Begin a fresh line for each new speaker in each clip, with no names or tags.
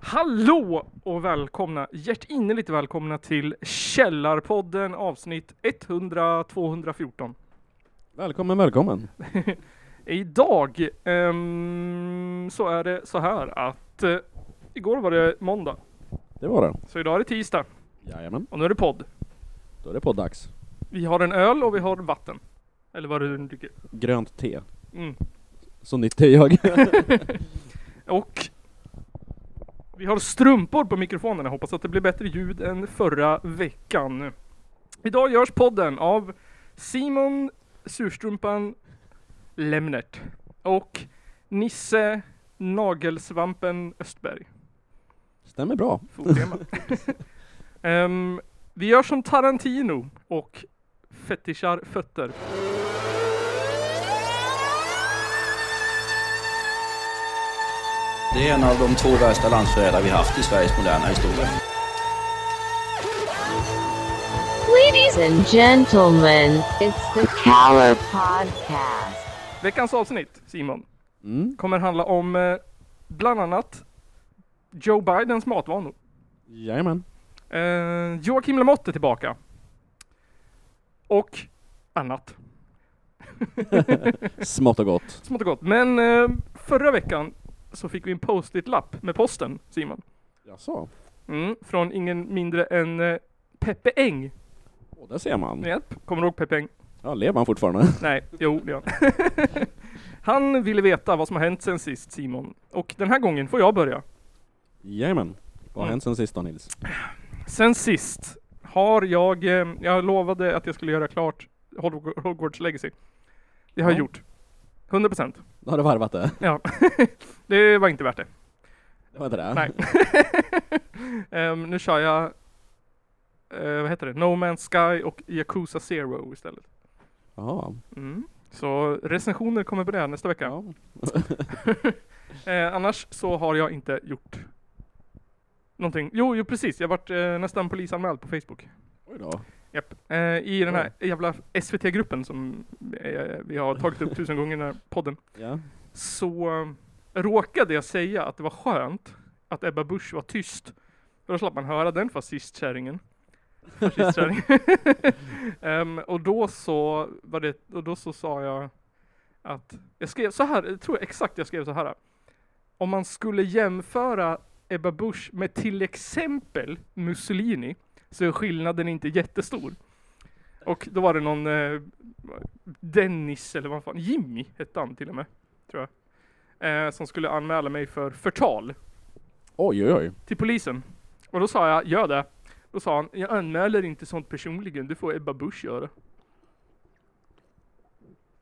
Hallå och välkomna, hjärtinnerligt välkomna till Källarpodden avsnitt 100-214.
Välkommen, välkommen.
Idag ehm, så är det så här att eh, igår var det måndag,
Det var det.
så idag är det tisdag
Jajamän.
och nu är det podd.
Då är det poddags.
Vi har en öl och vi har vatten. Eller vad du nu dricker.
Grönt te.
Mm.
Så nytt är jag.
Och vi har strumpor på mikrofonerna. Hoppas att det blir bättre ljud än förra veckan. Idag görs podden av Simon Surstrumpan Lemnert och Nisse Nagelsvampen Östberg.
Stämmer bra.
Fothema. Ehm, vi gör som Tarantino och fetischar fötter.
Det är en av de två värsta landsförrädare vi haft i Sveriges moderna historia.
Ladies and gentlemen, it's the Caller Podcast.
Veckans avsnitt, Simon,
Mm.
kommer handla om eh, bland annat Joe Bidens matvanor.
Jajamän.
Eh, Joakim Lamotte är tillbaka. Och annat.
Smått och gott.
Smått och gott. Men eh, förra veckan så fick vi en post-it-lapp med posten, Simon.
Jaså?
Mm, från ingen mindre än eh, Peppe Eng.
Och där ser man.
Japp, kommer du ihåg Peppe Eng?
Ja, lever han fortfarande?
Nej, jo det gör han. Han ville veta vad som har hänt sen sist, Simon. Och den här gången får jag börja.
Jajamän. Vad har
Mm.
hänt sen sist då Nils?
Sen sist har jag, eh, jag lovade att jag skulle göra klart Hog- Hogwarts Legacy. Det har jag
Ja.
gjort. 100 procent.
Då har du varvat det.
Ja, det var inte värt det.
Det var inte det?
Nej. Ehm, nu kör jag, eh, vad heter det, No Man's Sky och Yakuza Zero istället.
Jaha.
Mm. Så recensioner kommer på det här nästa vecka.
Ja.
Eh, annars så har jag inte gjort någonting. Jo, jo precis, jag vart eh, nästan polisanmäld på Facebook.
Oj då.
Japp. Eh, I den här jävla SVT-gruppen som eh, vi har tagit upp tusen gånger i den här podden.
Ja.
så eh, råkade jag säga att det var skönt att Ebba Busch var tyst. För då slapp man höra den fascistkärringen. Fascistkärringen. Ehm, och då så var det, och då så sa jag att, jag skrev så här, jag tror exakt jag skrev så här. Om man skulle jämföra Ebba Busch med till exempel Mussolini så är skillnaden inte jättestor. Och då var det någon eh, Dennis eller vad fan, Jimmy hette han till och med tror jag. Eh, som skulle anmäla mig för förtal
Oj, oj, oj.
till polisen. Och då sa jag, gör det. Då sa han, jag anmäler inte sånt personligen, det får Ebba Busch göra.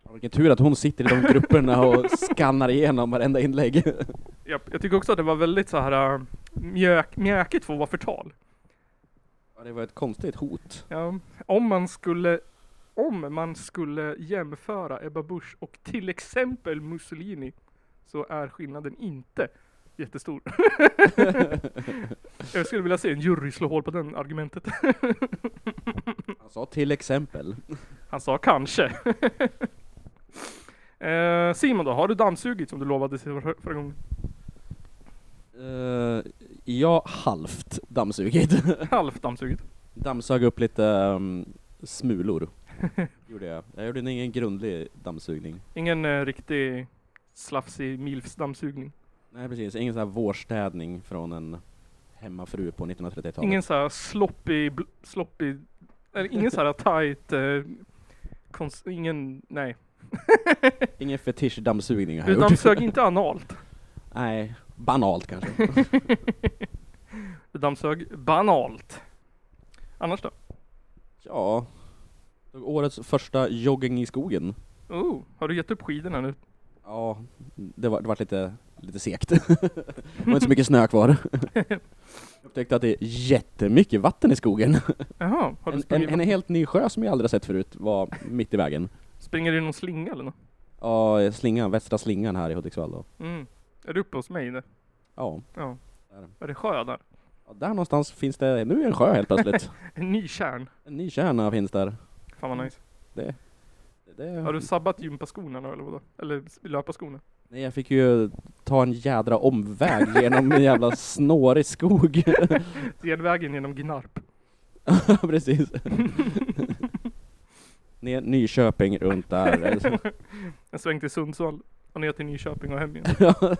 Ja, Vilken tur att hon sitter i de grupperna och skannar igenom varenda inlägg.
Japp. Jag tycker också att det var väldigt så här äh, mjök, mjökigt för att vara förtal.
Ja, det var ett konstigt hot.
Ja, om man skulle om man skulle jämföra Ebba Busch och till exempel Mussolini så är skillnaden inte jättestor. jag skulle vilja se en jury slå hål på den argumentet.
Han sa till exempel.
Han sa kanske. eh, Simon då, har du dammsugit som du lovade sig förra, förra gången?
Eh, ja, halvt dammsugit.
Halvt dammsugit.
Dammsög upp lite ehm, smulor. gjorde jag. Jag gjorde ingen grundlig dammsugning.
Ingen eh, riktig slafsig milfs dammsugning.
Nej precis, ingen sån här vårstädning från en hemmafru på 1930-talet.
Ingen så här sloppy, bl- sloppy, eller ingen så här tight, eh, konst, ingen, nej.
ingen fetischdammsugning har
Du
jag gjort.
dammsög inte analt.
Nej, banalt kanske.
Du dammsög banalt. Annars då?
ja. Det var Årets första jogging i skogen.
Oh, har du gett upp skidorna nu?
Ja, det var, det var lite, lite segt. det var inte så mycket snö kvar. jag upptäckte att det är jättemycket vatten i skogen.
Jaha, har du
En, en,
sprungit,
en helt ny sjö som jag aldrig har sett förut var mitt i vägen.
springer du i någon slinga eller något?
Ja, slingan, västra slingan här i Hudiksvall då.
Mm. Är du uppe hos mig nu?
Ja.
Ja.
Där.
Är det sjö där?
ja, där någonstans finns det, nu är det en sjö helt plötsligt.
En ny kärn.
En ny kärna finns där.
Fan vad nice.
Det, det,
Har du sabbat gympaskorna nu eller vadå? Eller s- löparskorna?
Nej, jag fick ju ta en jädra omväg genom en jävla snårig skog.
Genvägen genom Gnarp.
Precis. Ner Nyköping runt där.
En sväng till Sundsvall och ner till Nyköping och hem igen.
Ja.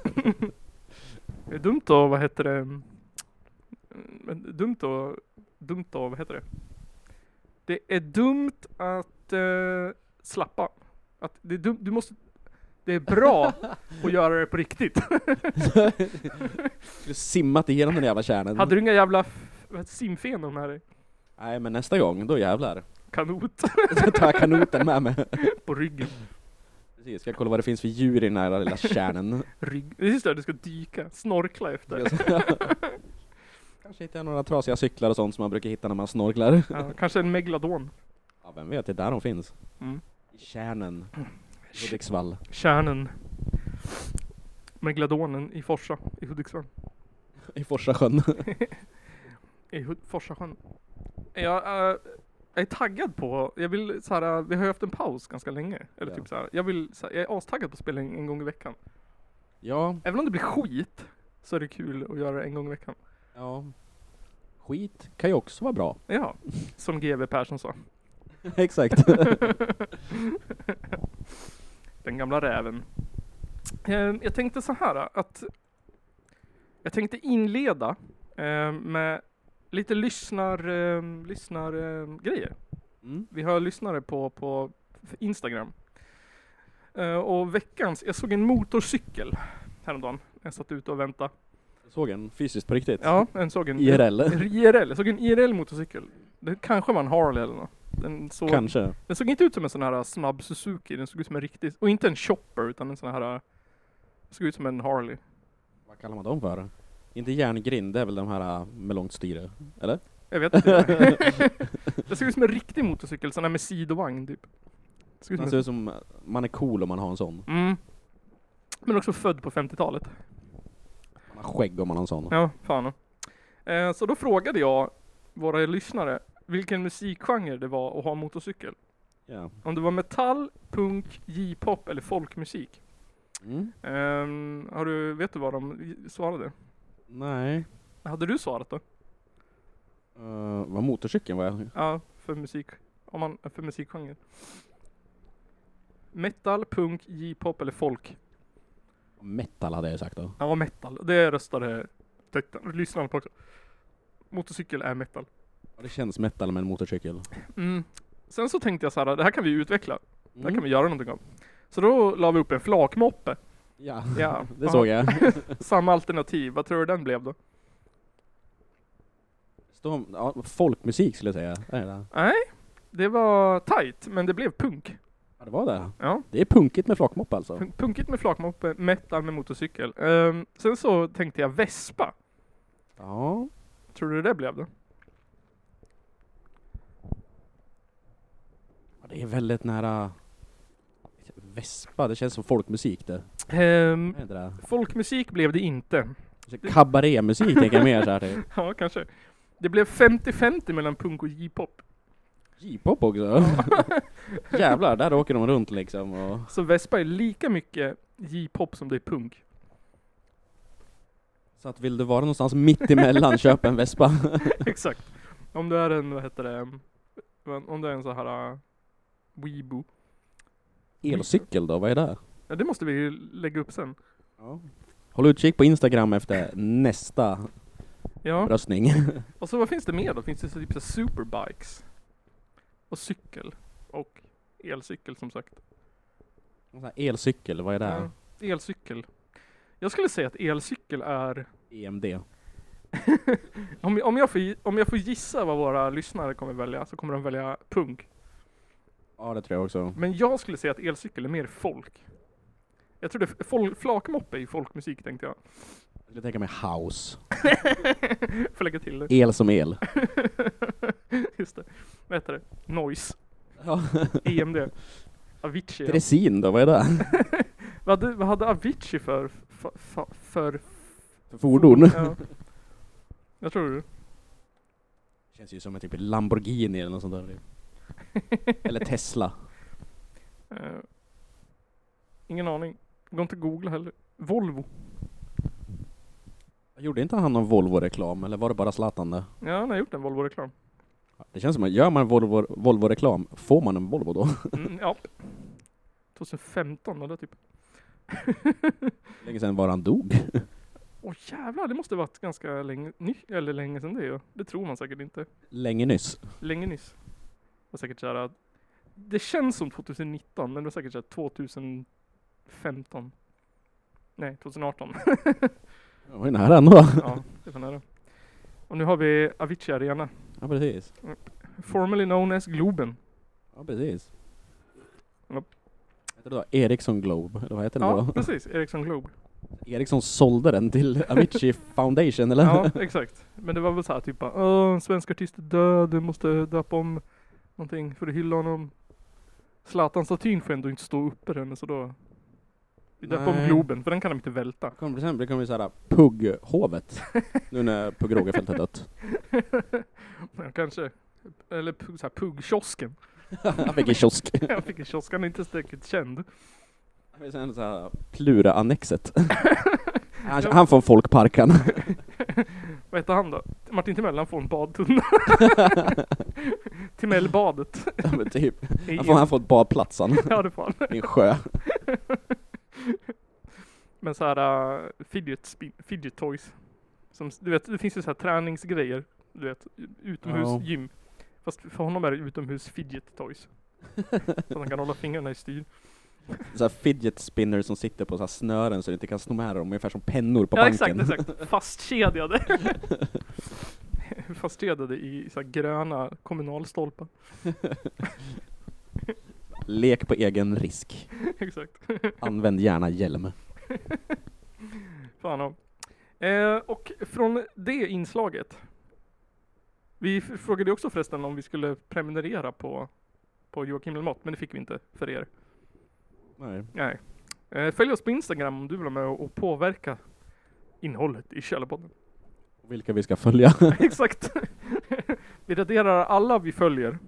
Det är dumt att, vad heter det, mm, men dumt att, dumt att, vad heter det? Det är dumt att eh, slappa. Att det är dumt, du måste, det är bra att göra det på riktigt.
Skulle simmat igenom den jävla kärnan.
Hade du inga jävla f- vad heter- simfenor med dig?
Nej, men nästa gång, då jävlar.
Kanot
Då tar jag kanoten med mig.
på ryggen.
Precis, ska jag kolla vad det finns för djur i den här lilla kärnan.
Rygg. Just det, du ska dyka, snorkla efter.
Kanske hittar jag några trasiga cyklar och sånt som man brukar hitta när man snorklar.
Ja, kanske en megladon.
Ja, vem vet, det är där de finns.
Mm.
I kärnen. Hudiksvall.
Kärnen. Megladonen i Forsa, i Hudiksvall.
I Forsasjön.
I Hud- Forsasjön. Jag, eh, jag är taggad på, jag vill så här, eh, vi har ju haft en paus ganska länge. Eller
Ja.
typ så här, jag vill, så här, jag är astaggad på att spela in en gång i veckan.
Ja,
Även om det blir skit, så är det kul att göra det en gång i veckan.
ja. Skit kan ju också vara bra.
Ja, som GW Persson sa.
Exakt.
Den gamla räven. Ehm, Jag tänkte så här att jag tänkte inleda ehm, med lite lyssnar, ehm, lyssnar ehm, grejer.
Mm.
Vi har lyssnare på, på Instagram. Eh, Och veckans, jag såg en motorcykel häromdagen. Jag satt ute och väntade.
Såg en fysiskt på riktigt.
Ja, jag såg en
IRL.
IRL. Jag såg en IRL motorcykel. Det kanske var en Harley eller något. Den såg,
Kanske.
den såg inte ut som en sån här äh, snabb Suzuki, den såg ut som en riktig, och inte en chopper utan en sån här, äh, såg ut som en Harley.
Vad kallar man dem för? Inte järngrind, det är väl de här äh, med långt styre? Eller?
Jag vet inte. det såg ut som en riktig motorcykel, sån här med sidovagn typ. Det Såg ut som
Man ser
en,
ut som äh, man är cool om man har en sån.
mm. Men också född på 50-talet.
Man har skägg om man har en sån.
Ja, fan. Eh, så då frågade jag våra lyssnare vilken musikgenre det var att ha motorcykel.
Ja.
Om det var metall, punk, J-pop eller folkmusik.
Mm.
Ehm, har du, vet du vad de svarade?
Nej.
Hade du svarat då?
Uh, vad motorcykeln var jag?
Ja, för musik. Om man, för musikgenre. Metal, punk, J-pop eller folk?
Metal hade jag sagt då.
Ja, metal. Det röstade tittarna- lyssnarna på också. Motorcykel är metal.
Ja, Det känns metal med en motorcykel.
Mm. Sen så tänkte jag så här, det här kan vi utveckla. Det här
Mm.
kan vi göra någonting av. Så då la vi upp en flakmoppe.
Ja,
Ja,
det såg jag.
Samma alternativ. Vad tror du den blev då?
Står- ja, folkmusik skulle jag säga. Är det det?
Nej, det var tight, men det blev punk.
Ja, det var det.
Ja.
Det är punkigt med flakmopp alltså.
Punk- Punkigt med flakmoppe, metal med motorcykel. Ehm, sen så tänkte jag vespa.
Ja.
Tror du det blev då?
Ja, Det är väldigt nära... Vespa, det känns som folkmusik det.
Ehm,
Är det inte det?
folkmusik blev det inte.
Så Kabarémusik tänker jag mer såhär typ.
Ja, kanske. Det blev 50-50 mellan punk och J-pop.
J-pop också. Jävlar, där åker de runt liksom och...
Så vespa är lika mycket J-pop som det är punk.
Så att vill du vara någonstans mitt emellan, köp en vespa.
Exakt. Om du är en, vad heter det, om- om du är en så här uh, weebo.
Elcykel då, vad är det?
Ja, det måste vi ju lägga upp sen.
Håll utkik på Instagram efter nästa
Ja,
röstning.
och så vad finns det mer då? Finns det så typ så här superbikes? Och cykel? Och elcykel som sagt.
Någon sån här Elcykel, vad är det?
Ja, elcykel. Jag skulle säga att elcykel är,
EMD.
om jag, om, jag får, gi- om jag får gissa vad våra lyssnare kommer välja så kommer de välja punk.
Ja, det tror jag också.
Men jag skulle säga att elcykel är mer folk. Jag trodde f- fol- flakmoppe är ju folkmusik tänkte jag.
Jag skulle tänka mig house.
Får lägga till det.
El som el.
Just det. Vad heter det? Noise.
Ja.
EMD. Avicii. ja.
Dressin då, vad är det?
Vad hade, vad hade Avicii för, för, för, för
För fordon.
ja. Jag tror det.
Känns ju som en typ Lamborghini eller något sånt där. Eller Tesla.
Eh, ingen aning. Det går inte att googla heller. Volvo.
Gjorde inte han någon Volvo-reklam, eller var det bara Zlatan det?
Ja, han har gjort en Volvo-reklam.
Det känns som att gör man Volvo- Volvo-reklam, får man en Volvo då?
Mm, ja. 2015 var det typ.
Länge sedan var han dog.
Åh jävlar, det måste varit ganska länge, ny, eller länge sedan det ja. Det tror man säkert inte.
Länge nyss.
Länge nyss. Det var säkert såhär, det känns som 2019 men det var säkert såhär 2015. Nej, 2018.
Det var ju nära ändå.
ja, det var nära. Och nu har vi Avicii Arena.
Ja, precis.
Formerly known as Globen.
Ja, precis.
Ja.
Heter det då Ericsson Globe, eller vad heter det
Ja,
då?
precis. Ericsson Globe.
Ericsson sålde den till Avicii Foundation, eller?
Ja, exakt. Men det var väl såhär typ bara, "Åh, en svensk artist är död, du måste döpa om någonting för att hylla honom. Zlatan-statyn får ändå inte stå uppe den, så då... Vi döper om
Nej.
Globen, för den kan de inte välta.
Kommer, sen blir det kommer såhär Pugghovet, nu när Pugh Rogefeldt har dött.
Ja, kanske. Eller pu- så här, puggkiosken.
Han fick en kiosk.
Jag fick en kiosk, han är inte säkert känd.
Och Sen såhär Plura-annexet. Han, han från Folkparkan.
Vad heter han då? Martin Timell, han får en badtunna. Timellbadet.
Ja, men typ.
i-
Han får, han får ett badplats han,
Ja, det får han.
i en sjö.
Men så här uh, fidget, spin- fidget toys. Som, s- du vet, det finns ju så här träningsgrejer. Du vet,
Ja.
utomhusgym. Fast för honom är det utomhus fidget toys. så han kan hålla fingrarna i styr.
Så här fidget spinner som sitter på så här snören så du inte kan sno med dem, ungefär som pennor på
ja,
banken.
exakt, exakt. Fastkedjade. Fastkedjade i så här gröna kommunalstolpar.
Lek på egen risk.
exakt.
Använd gärna hjälm.
Fan om. Eh, och från det inslaget. Vi f- frågade ju också förresten om vi skulle prenumerera på, på Joakim Lamotte, men det fick vi inte för er.
Nej.
Nej. Eh, följ oss på Instagram om du vill vara med och, och påverka innehållet i Källarpodden.
Vilka vi ska följa.
Exakt. vi raderar alla vi följer.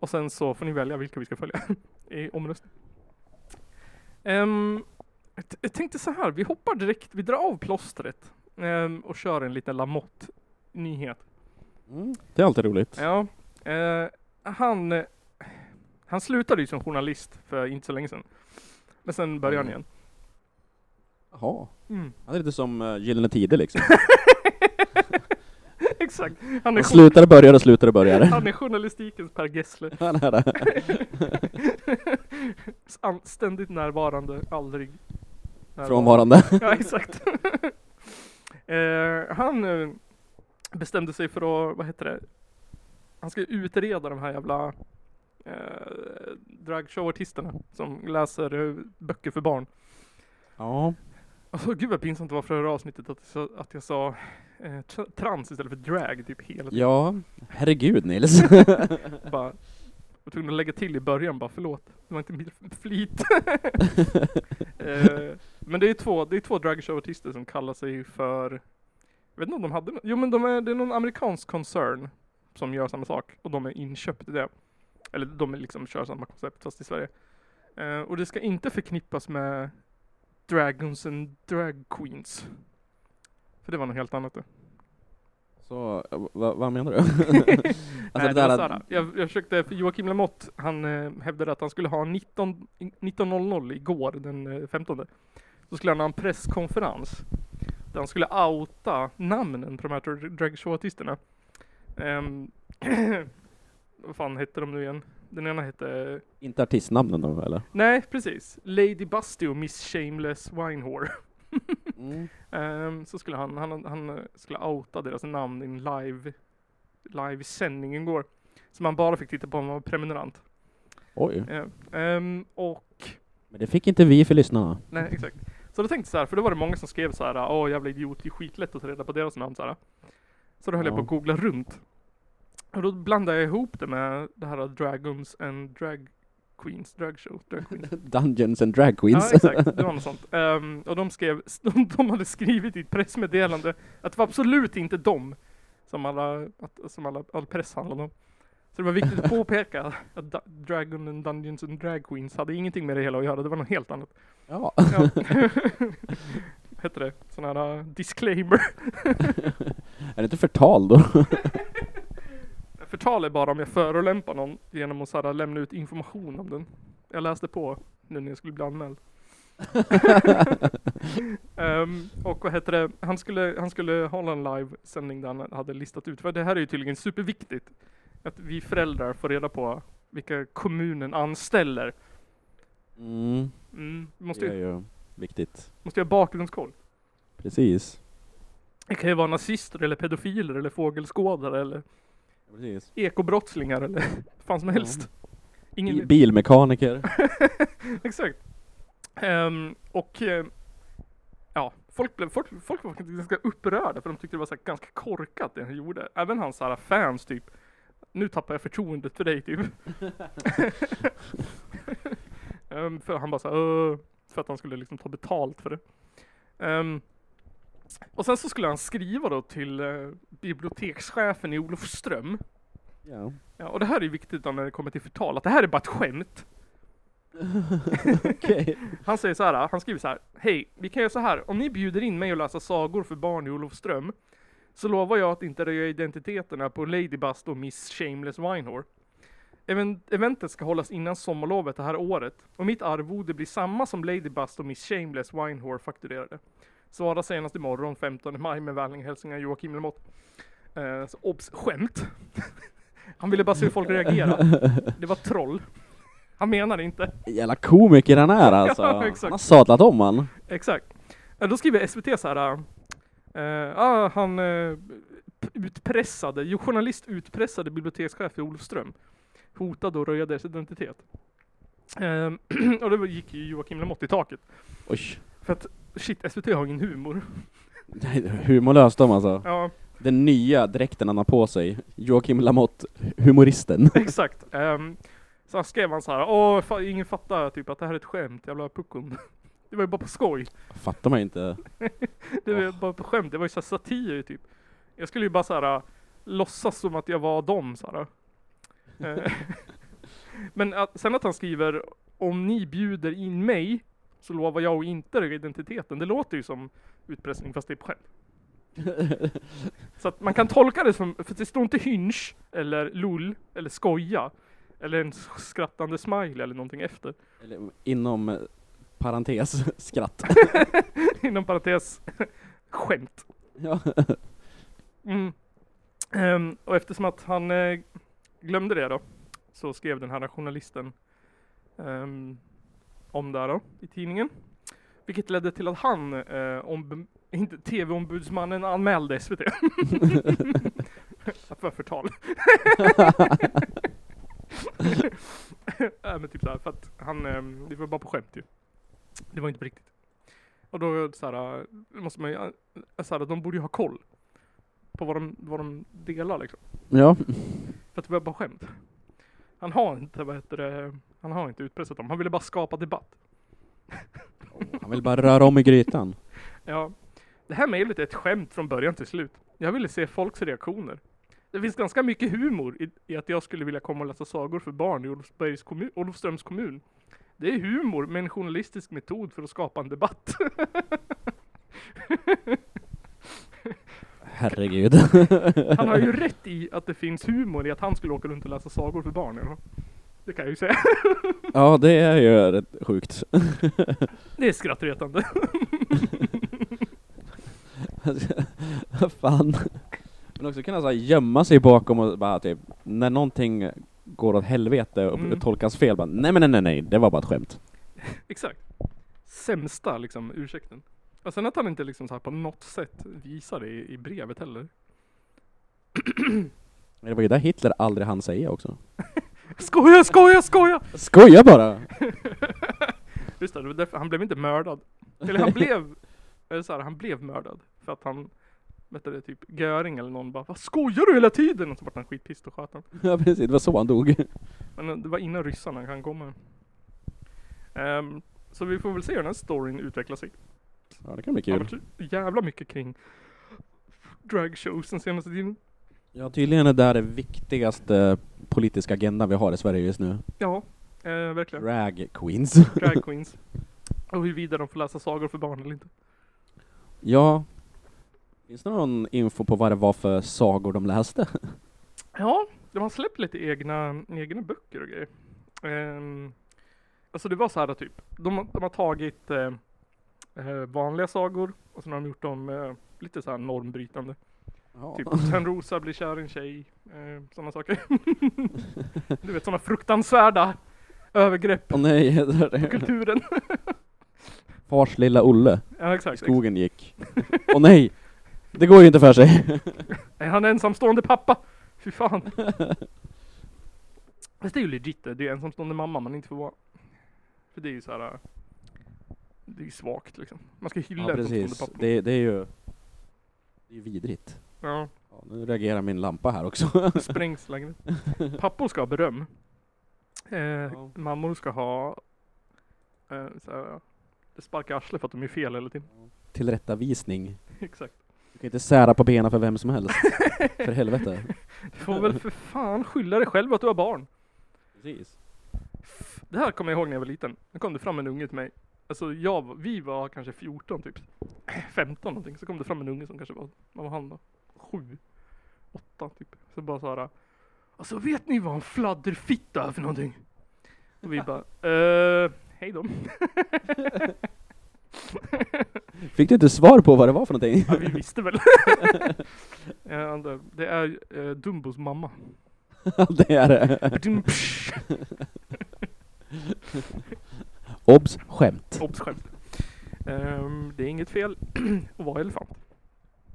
Och sen så får ni välja vilka vi ska följa i omröstning. Ehm, jag t- jag tänkte så här, vi hoppar direkt, vi drar av plåstret ehm, och kör en liten Lamotte-nyhet.
Mm. Det är alltid roligt.
Ja, eh, han, han slutade ju som journalist för inte så länge sedan. Men sen började han igen.
Jaha.
Mm.
Han är lite som uh, Gyllene Tider liksom.
Exakt. Han är,
Han
jour-
slutar och börjar och slutar och börjar.
han är journalistikens Per Gessle.
Han är det.
An- Ständigt närvarande, aldrig närvarande.
Frånvarande.
Ja, exakt. eh, han eh, bestämde sig för att, vad heter det, han ska utreda de här jävla eh, dragshowartisterna som läser eh, böcker för barn.
Ja.
Alltså, gud vad pinsamt det var förra avsnittet att, jag sa- att jag sa eh, tra- trans istället för drag typ hela tiden.
Ja. Herregud Nils.
Bara, jag tvungen att lägga till i början bara förlåt, det var inte min flit. eh, men det är två, det är två dragshowartister som kallar sig för, jag vet inte om de hade, nå- jo men de är, det är någon amerikansk koncern som gör samma sak och de är inköpt i det. Eller de är liksom kör samma koncept fast i Sverige. Eh, och det ska inte förknippas med Dragons and Drag Queens. För det var något helt annat då.
Så, eh, va- vad menar du? alltså
Nej,
det
det var
där att-
så här, jag, jag försökte, för Joakim Lamotte, han eh, hävdade att han skulle ha 19 19.00 igår, den eh, 15. Så skulle han ha en presskonferens. Där han skulle outa namnen på de här dra- dragshowartisterna. Ehm, vad fan hette de nu igen? Den ena hette...
Inte artistnamnen då eller?
Nej, precis. Lady Busty och Miss Shameless Winehore.
Mm.
Ehm, så skulle han, han, han eh, skulle outa deras namn i en live, live sändning igår. Som man bara fick titta på om man var prenumerant.
Oj.
Ja. Ehm, och,
Men det fick inte vi för lyssnarna.
nej exakt. Så då tänkte jag så här, för då var det många som skrev så här, åh jävla idiot, det är skitlätt att ta reda på deras namn så här. Så då höll jag på
Ja.
att googla runt. Och då blandade jag ihop det med det här Dragons and Drag Queens, Drag Show, Drag Queens.
Dungeons and drag queens.
Ja, exakt. Det var något sånt. Ehm, och de skrev, de, de hade skrivit i ett pressmeddelande att det var absolut inte dem som alla, att, som alla, all press handlade om. Så det var viktigt att påpeka att Da- Dragon and Dungeons and Drag Queens hade ingenting med det hela att göra, det var något helt annat.
Ja.
Ja. Hette det? Sån här uh, disclaimer.
Är det inte förtal då?
Förtal är bara om jag förolämpar någon genom att så här, lämna ut information om den. Jag läste på nu när jag skulle bli anmäld. Ehm, och vad heter det, han skulle, han skulle hålla en livesändning där han hade listat ut, för det här är ju tydligen superviktigt, att vi föräldrar får reda på vilka kommunen anställer.
Mm.
Mm, vi
Det
måste,
är
ju,
ju viktigt.
måste ju ha bakgrundskoll.
Precis.
Det kan ju vara nazister eller pedofiler eller fågelskådare eller
Precis.
ekobrottslingar eller vad fan som helst. Ingen,
Bi- bilmekaniker.
Exakt. Ehm, och eh, ja, folk, blev, folk, folk var faktiskt ganska upprörda för de tyckte det var så här ganska korkat det han gjorde. Även hans så här fans typ. Nu tappar jag förtroendet för dig typ. Ehm, för han bara så här, "Åh", för att han skulle liksom ta betalt för det. Ehm, och sen så skulle han skriva då till eh, bibliotekschefen i Olofström.
Ja.
Ja, och det här är ju viktigt då när det kommer till förtal, att det här är bara ett skämt.
Okej.
Han säger så här, han skriver så här. Hej, vi kan göra så här. Om ni bjuder in mig att läsa sagor för barn i Olofström så lovar jag att inte röja identiteterna på Ladybust och Miss Shameless Winehore. Even- eventet ska hållas innan sommarlovet det här året och mitt arvode blir samma som Ladybust och Miss Shameless Winehore fakturerade. Svara senast imorgon 15 maj med vänliga hälsningar Joakim Lemott. Eh, så obs, skämt! Han ville bara se hur folk reagerade. Det var troll. Han menade inte.
Jävla komiker han är alltså.
Ja, exakt.
han har sadlat om han.
Exakt. Eh, Då skriver SVT så här. eh, ah, han eh, p- utpressade, jo, journalist utpressade bibliotekschef i Olofström. Hotade och röja deras identitet. Eh, och då gick ju Joakim Lamotte i taket.
Oj.
För att shit, SVT har ingen humor.
Nej, Humorlöst de alltså.
Ja,
Den nya dräkten han har på sig. Joakim Lamotte, humoristen.
exakt. Um, så han skrev han så här. Åh, fa- ingen fattar typ att det här är ett skämt, jävla puckon. Det var ju bara på skoj.
Fattar man inte.
Det var ju bara på skämt, det var ju så här satir typ. Jag skulle ju bara så här äh, låtsas som att jag var dem så här. äh. Eh, Men att, sen att han skriver om ni bjuder in mig så lovar jag att inte röja identiteten. Det låter ju som utpressning fast det är på skämt. Så att man kan tolka det som, för det står inte hynsch eller lull eller skoja eller en skrattande smiley eller någonting efter.
Eller, inom eh, parentes, skratt.
Inom parentes, skämt.
Ja.
Mm. Ehm, och eftersom att han eh, glömde det då, så skrev den här journalisten ehm, om det här då, i tidningen. Vilket ledde till att han, eh, om, inte tv-ombudsmannen, anmälde SVT. för förtal. äh, men typ såhär, för att han, ehm, det var bara på skämt ju. Det var inte på riktigt. Och då såhär, måste man ju, såhär, de borde ju ha koll på vad de, vad de delar liksom.
ja.
För att det var bara skämt. Han har inte, vad heter det, han har inte utpressat dem. Han ville bara skapa debatt.
Han vill bara röra om i grytan.
Ja. Det här mejlet är ett skämt från början till slut. Jag ville se folks reaktioner. Det finns ganska mycket humor i, i att jag skulle vilja komma och läsa sagor för barn i Olofsbergs kommun, Olofströms kommun. Det är humor med en journalistisk metod för att skapa en debatt.
Herregud.
Han har ju rätt i att det finns humor i att han skulle åka runt och läsa sagor för barn. ja. Det kan jag ju säga.
ja, det är ju rätt sjukt.
Det är skrattretande.
Fan. Men också kunna så här, gömma sig bakom och bara typ, när någonting går åt helvete och
Mm.
tolkas fel, bara nej men nej nej nej, det var bara ett skämt.
Exakt. Sämsta liksom ursäkten. Och sen att han inte liksom så här på något sätt visar det i, i brevet heller.
Men Det var ju där Hitler aldrig hann säga också.
Skoja, skoja, skoja!
Skoja bara!
Just det, det var därför, han blev inte mördad. Eller han blev, eller så här, han blev mördad. För att han, vet du det, typ Göring eller någon bara Vad skojar du hela tiden? Och så vart han skitpist och sköt han.
ja precis, det var så han dog.
Men eh, det var innan ryssarna kan komma. Ehm, så vi får väl se hur den här storyn utvecklar sig.
Ja det kan bli
Det har
kul.
varit så jävla mycket kring dragshows den senaste tiden.
Ja tydligen är det där det viktigaste politiska agendan vi har i Sverige just nu.
Ja, eh, verkligen.
Drag queens.
Drag queens. Och huruvida de får läsa sagor för barn eller inte.
Ja. Finns det någon info på vad det var för sagor de läste?
Ja, de har släppt lite egna, egna böcker och grejer. Ehm, alltså det var så här typ, de, de har tagit eh, eh, vanliga sagor och sen har de gjort dem eh, lite så här normbrytande. Typ Törnrosa blir kär i en tjej, eh, sådana saker. du vet sådana fruktansvärda övergrepp
Åh nej,
på kulturen.
fars lilla Olle.
ja
I
exakt.
skogen gick. Åh nej! Det går ju inte för sig.
Är han ensamstående pappa? Fy fan. Fast det är ju legit det, det är ju ensamstående mamma man inte får vara. För det är ju så här. äh, Det är ju svagt liksom. Man ska hylla
Ja precis,
ensamstående pappa.
det, det är ju det är ju vidrigt.
Ja,
Ja, nu reagerar min lampa här också.
det sprängs längre. Pappor ska ha beröm. Eh,
Ja.
Mammor ska ha eh, så här, det sparkar i arslet för att de är fel hela tiden.
Tillrättavisning.
Exakt.
Du kan inte sära på benen för vem som helst. för helvete.
Du får väl för fan skylla dig själv att du har barn.
Precis.
Det här kommer jag ihåg när jag var liten. Då kom det fram en unge till mig. Alltså jag, vi var kanske 14 typ. 15 någonting. Så kom det fram en unge som kanske var, vad var han då? 7? 8 typ. Så bara så här. Alltså vet ni vad en fladderfitta är för någonting? Och vi bara, eh, hej då.
Fick du inte svar på vad det var för någonting?
Ja, vi visste väl. Eh, andra, det är eh, Dumbos mamma.
det är det.
Badum, psh.
Obs! Skämt.
Obs skämt. Ehm, det är inget fel att vara elefant.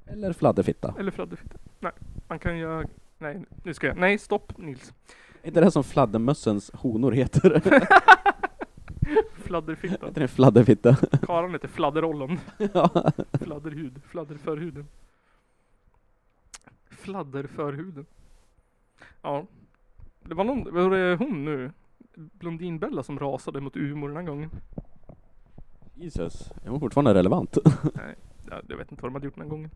Eller fladderfitta.
Eller fladderfitta. Nej, man kan göra... Nej, nu ska jag... Nej, stopp Nils.
Är inte det som fladdermössens honor heter?
Fladderfitta.
heter det fladderfitta?
Karan heter fladderollon.
ja.
Fladderhud. Fladderförhuden. Fladderförhuden. Ja. Det var någon... Var det hon nu? Blondinbella som rasade mot Umeå den här gången.
Jesus. Är hon fortfarande relevant?
Ja, jag vet inte vad de hade gjort den här gången.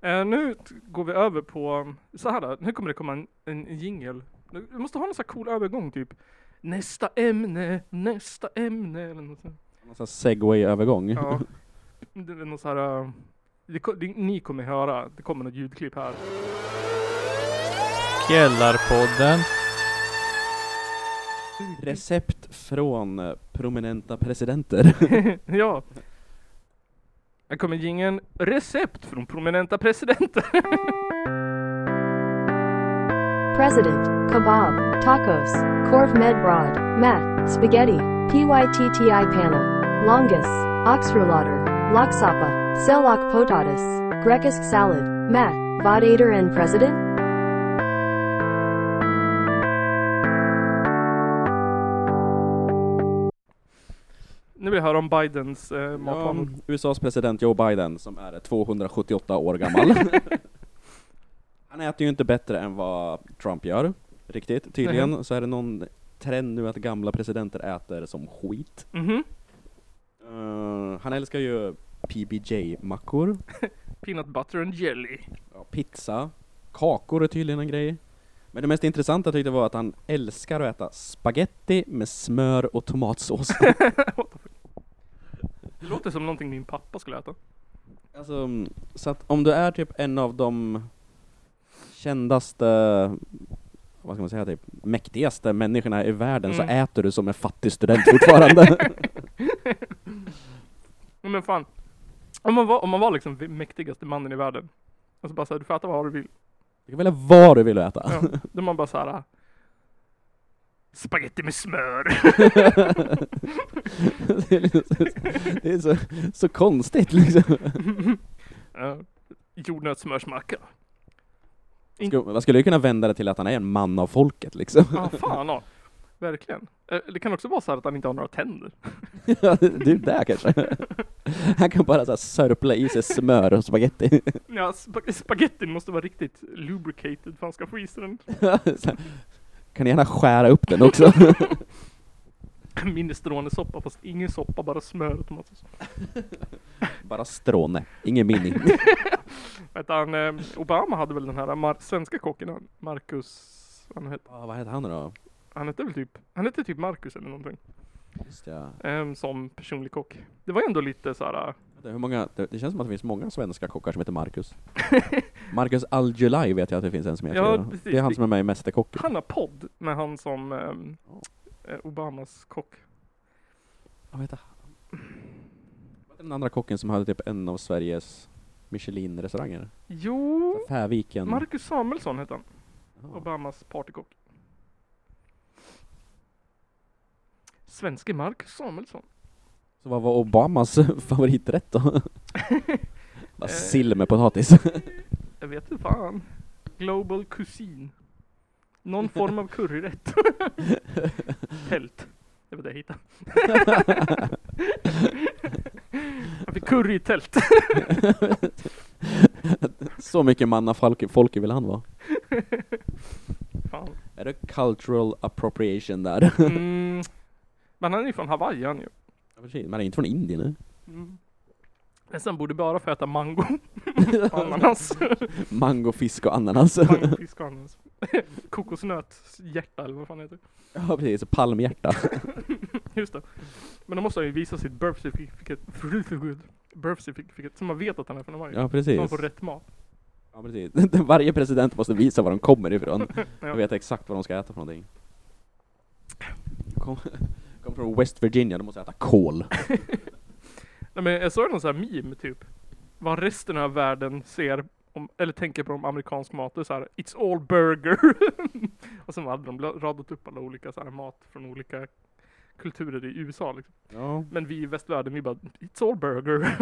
Eh, nu t- går vi över på... um, Så här då, nu kommer det komma en, en jingel. Du du måste ha någon sån här cool övergång typ. Nästa ämne, nästa ämne eller något sånt.
Någon sån segway-övergång.
Ja. Det är någon så här, äh, det, ko- det, ni kommer höra, det kommer något ljudklipp här.
Källarpodden.
Recept från eh, prominenta presidenter.
ja. Här kommer jingeln Recept från prominenta presidenter.
President, kebab, tacos, corv med brod, mat, spaghetti, pytti panna, longus, oxrolader, loksapa, selok potatus, grekisk salad, mat, vadader and president?
nu vill jag höra om Bidens äh, matvanor.
USAs president Joe Biden som är 278 år gammal. Han äter ju inte bättre än vad Trump gör, riktigt. Tydligen så är det någon trend nu att gamla presidenter äter som skit.
Mhm.
Eh, han älskar ju PBJ-mackor,
Peanut butter and jelly.
ja, pizza, kakor är tydligen en grej. Men det mest intressanta tyckte jag var att han älskar att äta spaghetti med smör och tomatsås.
Det låter som någonting min pappa skulle äta.
Alltså, mm, så att om du är typ en av de kändaste, vad ska man säga, typ mäktigaste människorna i världen så
Mm.
äter du som en fattig student fortfarande.
Ja, Men fan. Om man var, om man var liksom v- mäktigaste mannen i världen. Och så bara såhär, du får äta vad du vill.
du kan välja vad du vill äta.
Ja. Då man bara såhär. Spaghetti med smör.
det är, liksom så, det är så, så konstigt liksom.
Ja. Jordnötssmörsmacka. In-
Skulle- Man skulle ju kunna vända det till att han är en man av folket liksom.
Ja, fan ja. Verkligen. Eh, Det kan också vara så här att han inte har några tänder.
Ja, det är där kanske. Han kan bara så här, sörpla i sig smör och spaghetti.
Ja, spa- spagettin måste vara riktigt lubricated för han ska få i sig den.
Så här, kan gärna skära upp den också.
Minestronesoppa, fast ingen soppa, bara smör och tomatsås.
Bara stråne, ingen mini.
eh, Vet han, eh, Obama hade väl den här mar- svenska kocken, han, Marcus Marcus. Han hette,
Ah, vad heter han då?
han hette väl typ, han hette typ Marcus eller någonting.
Just ja.
Ehm, som personlig kock. Det var ju ändå lite äh, såhär,
Det, hur många, det, det känns som att det finns många svenska kockar som heter Marcus. Marcus Algelai vet jag att det finns en som heter.
Ja,
det.
precis.
det är han som är med i Mästerkocken.
han har podd med han som ehm, eh, Obamas kock.
Vad heter han? Vad heter den andra kocken som hade typ en av Sveriges Michelin-restauranger?
Jo,
Fäviken.
Marcus Samuelsson hette han.
Ja.
Obamas partykock. Svenske Marcus Samuelsson.
Så vad var Obamas favoriträtt då? Bara
Eh.
sill med potatis.
Jag vet inte fan. Global cuisine. Någon form av curryrätt. Tält. Det var det jag hittade. jag fick curry i tält.
Så mycket manna folk, folk vill han vara.
Fan.
Är det cultural appropriation där?
Mm. Men han är ju från Hawaii han ju.
Ja, precis. Man är inte från Indien nu.
Mm. Nästan borde bara få äta mango. Ananas.
Mango, fisk och ananas.
mango, fisk och ananas. Kokosnöt, hjärta eller vad fan heter det?
Ja precis, palmhjärta.
Just det. Men då måste han ju visa sitt birth certificate. Birth certificate. Så man vet att han är från Hawaii.
Ja
Så man
precis.
får rätt mat.
Ja, precis. Varje president måste visa var de kommer ifrån.
Ja.
Och veta exakt vad de ska äta för någonting. Kom, kom från West Virginia, de måste äta kål.
Nej, men jag såg någon sån här meme typ. Vad resten av världen ser, om, eller tänker på om amerikansk mat. Det är så här, it's all burger. och sen hade de bla- radat upp alla olika så här, mat från olika kulturer i USA. Liksom.
Ja.
Men vi i västvärlden, vi bara, it's all burger.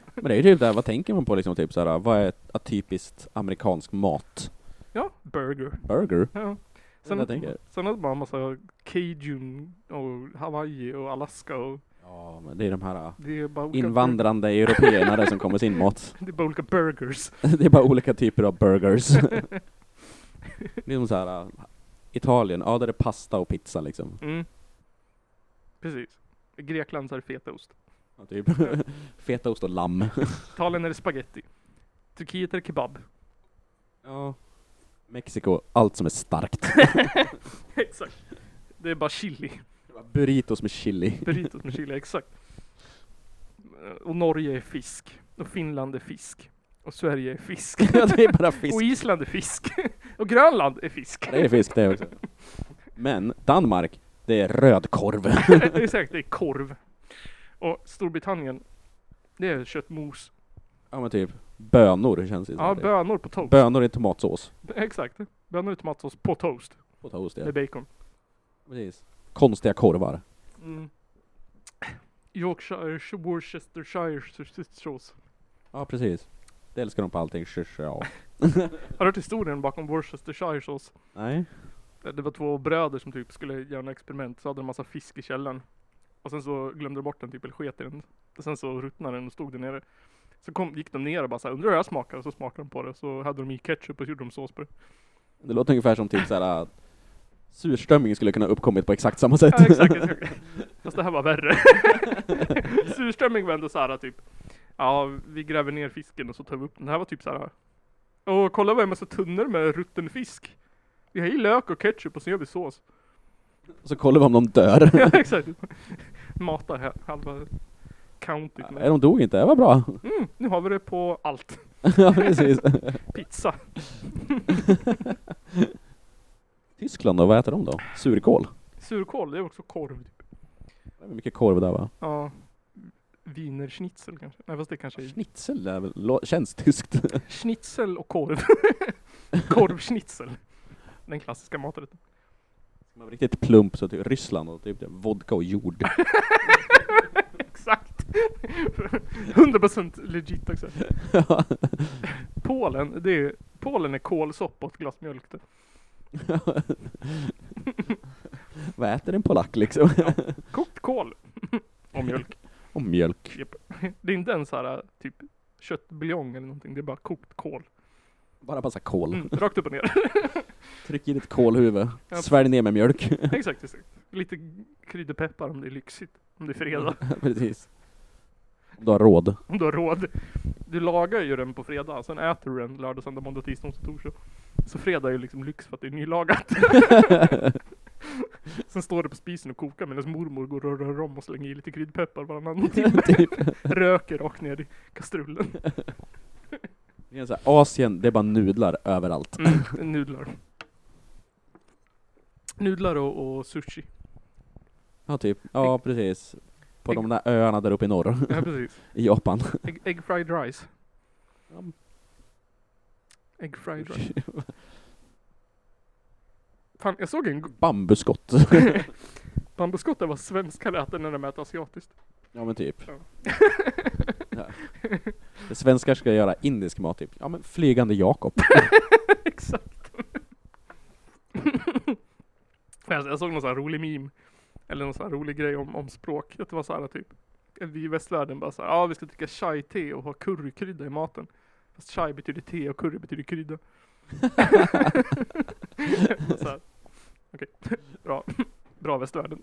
Men det är ju typ där, vad tänker man på liksom? Typ såhär, vad är ett typiskt amerikansk mat?
ja, burger.
Burger?
Ja.
Sen, jag tänker.
sen hade man en massa cajun och Hawaii och Alaska och
Ja, men det är de här äh,
det är bara olika,
invandrande européerna där som kommer med sin mat.
det är bara olika burgers.
Det är bara olika typer av burgers. det är som såhär, äh, Italien, ja där är pasta och pizza liksom.
Mm. Precis. I Grekland så är det fetaost.
Ja, typ. Fetaost och lamm.
Italien är det spaghetti. Turkiet är det kebab.
Ja. Mexiko, allt som är starkt.
Exakt. Det är bara chili.
Burritos med chili.
Burritos med chili, exakt. Och Norge är fisk. Och Finland är fisk. Och Sverige är fisk.
Ja, det är bara fisk.
Och Island är fisk. Och Grönland är fisk.
Det är fisk det också. Men Danmark, det är rödkorv.
exakt, det är korv. Och Storbritannien, det är köttmos.
Ja men typ bönor känns det som.
Ja,
Det är
bönor på toast.
Bönor i tomatsås.
Exakt. Bönor i tomatsås på toast.
På toast ja.
Med bacon.
Precis. Konstiga korvar.
Mm. Yorkshire, Worcestershire sås.
Ja precis. Det älskar de på allting. Shush, ja.
Har du hört historien bakom Worcestershire sås?
Nej.
Det var två bröder som typ skulle göra något experiment, så hade de massa fisk i källaren. Och sen så glömde de bort den typ, eller sket i den. Och sen så ruttnade den och stod där nere. Så kom, gick de ner och bara såhär, undrar hur det här smakar? Och så smakade de på det, så hade de i ketchup och så gjorde de sås på det.
Det låter ungefär som typ såhär äh, surströmming skulle kunna uppkommit på exakt samma sätt.
Ja, exakt, exakt. Fast det här var värre. Surströmming var ändå såhär typ, ja vi gräver ner fisken och så tar vi upp den. Det här var typ såhär, åh kolla vad det är massa tunnor med rutten fisk. Vi har i lök och ketchup och så gör vi sås.
Så kollar vi om de dör.
Ja exakt. Matar he- halva countyt
Nej,
med.
de dog inte. Det var bra.
Mm, nu har vi det på allt.
ja precis.
Pizza.
Tyskland då, vad äter de då? Surkål?
Surkål, det är också korv typ.
Det är mycket korv där va?
Ja. Wiener schnitzel kanske? Nej fast det kanske är
Schnitzel är väl, lo- känns tyskt.
schnitzel och korv. Korvschnitzel. Den klassiska maträtten.
Man var riktigt plump så typ Ryssland och typ vodka och jord.
Exakt. 100% legit också. Polen, det är, Polen är kålsoppa och ett glas mjölk. typ. det.
Vad äter en polack liksom?
Kokt kål. Och mjölk.
och mjölk.
Japp. Det är inte ens så här typ köttbuljong eller någonting. Det är bara kokt kål.
Bara massa kol.
Mm, rakt upp och ner.
Tryck i ditt kolhuvud.
Ja.
Svälj ner med mjölk.
exakt, exakt. Lite kryddpeppar om det är lyxigt. Om det är fredag.
Precis. Om du har råd.
Om du har råd. Du lagar ju den på fredag, sen äter du den lördag, söndag, måndag, tisdag, onsdag, torsdag. Så fredag är ju liksom lyx för att det är nylagat. Sen står det på spisen och kokar medan mormor går och rör om och slänger i lite kryddpeppar varannan timme.
typ.
Röker rakt ner i kastrullen.
Det är så här, Asien, det är bara nudlar överallt.
Mm, nudlar. Nudlar och, och sushi.
Ja, typ. Ja, precis. På de där öarna där uppe i norr,
Ja, precis.
i Japan.
Egg, egg fried rice.
Ja.
Egg fried rice. Fan, jag såg en g-
Bambuskott.
bambuskott där vad svenskar äter när de äter asiatiskt.
Ja men typ.
Ja.
Ja. Det Svenskar ska göra indisk mat typ. Ja men flygande Jakob.
Exakt. alltså, jag, jag såg någon sån här rolig meme. Eller någon sån här rolig grej om, om språk. Att Det var så här typ. Vi i västvärlden bara så här, ja ah, vi ska dricka chai-te och ha currykrydda i maten. Fast chai betyder te och curry betyder krydda. så här. Okej, bra. Bra västvärlden.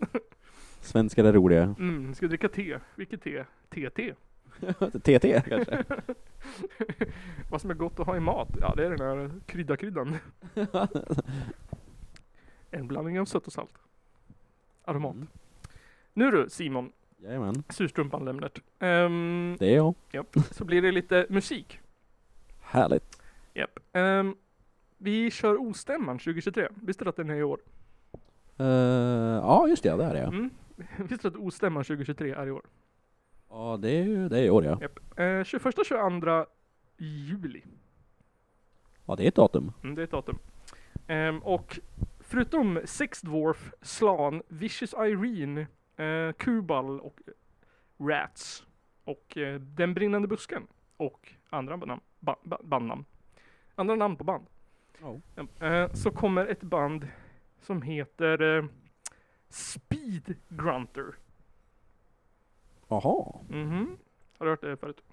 Svenskar är roliga.
Mm, ska dricka te. Vilket te? Te-te.
TT kanske?
Vad som är gott att ha i mat? Ja, det är den här krydda-kryddan. en blandning av sött och salt. Aromat.
Mm.
Nu du Simon,
Jajamän.
surstrumpan Lemnert. Ehm,
Det är jag.
japp. Så blir det lite musik.
Härligt.
Japp. Ehm, vi kör Ostämman 2023. Visste du att den är i år?
Eh, ja just det, det är jag.
Mm. Visste du att Ostämman 2023 är i år?
Ja det är ju, det är i år ja.
Japp. Uh, 21-22 juli.
Ja det är ett datum.
Mm, det är ett datum. Ehm, och förutom Sex Dwarf, Slan, Vicious Irene, eh, Kubal och eh, Rats och eh, Den brinnande busken och andra namn, ba, ba, bandnamn. Andra namn på band.
Ja.
Eh, så kommer ett band som heter eh, Speed Grunter.
Jaha.
Mhm. Har du hört det förut?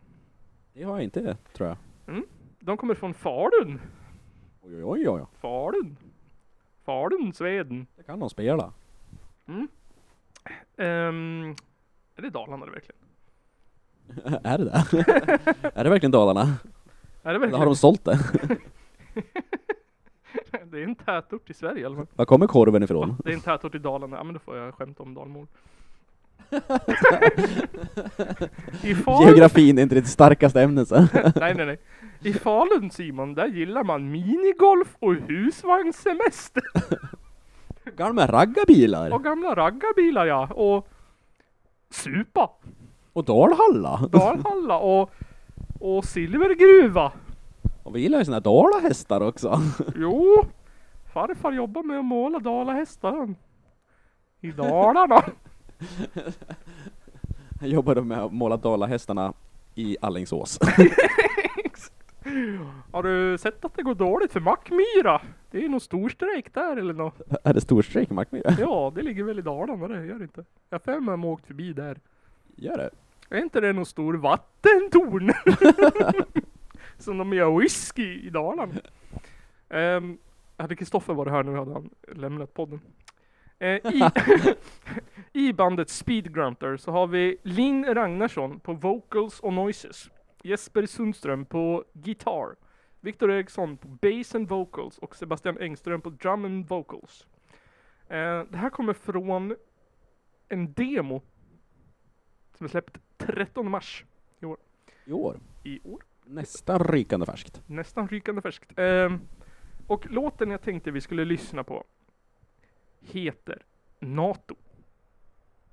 Det har jag inte tror jag.
De kommer från Falun.
Oj oj oj oj.
Falun. Falun, Sveden.
Det kan de spela.
Ehm, är det Dalarna det verkligen?
är det det? är det verkligen Dalarna?
Är det
Eller
verkligen?
har de sålt det?
Det är en tätort i Sverige i alla fall.
Var kommer korven ifrån?
Det är en tätort i Dalarna. Ja men då får jag skämta om dalmål. I Falun,
Geografin är inte ditt starkaste ämne så.
nej, nej, nej. I Falun Simon, där gillar man minigolf och husvagnssemester.
Gamla raggarbilar.
Och gamla raggarbilar ja. Och supa.
Och Dalhalla!
Dalhalla och, och silvergruva.
Och vi gillar ju såna här dalahästar också!
Jo, farfar jobbar med att måla dalahästar han. I Dalarna.
Jag jobbade med att måla dalahästarna i Allingsås.
Har du sett att det går dåligt för Mackmyra? Det är någon stor strejk där eller något.
är det storstrejk Mackmyra?
Ja, det ligger väl i Dalarna det, gör det inte? Jag har för mig att de har åkt förbi där.
Gör det?
Är inte det någon stor vattentorn? Som de gör whisky i Dalarna. Um, hade Kristoffer varit här nu hade han lämnat podden. Eh, i, I bandet Speed Grunter så har vi Linn Ragnarsson på vocals och noises. Jesper Sundström på gitarr. Viktor Eriksson på bass and vocals och Sebastian Engström på drum and vocals. Eh, det här kommer från en demo som är släppt 13 mars
I år.
i år.
Nästan rykande färskt.
Nästan rykande färskt. Ehm, och låten jag tänkte vi skulle lyssna på heter NATO.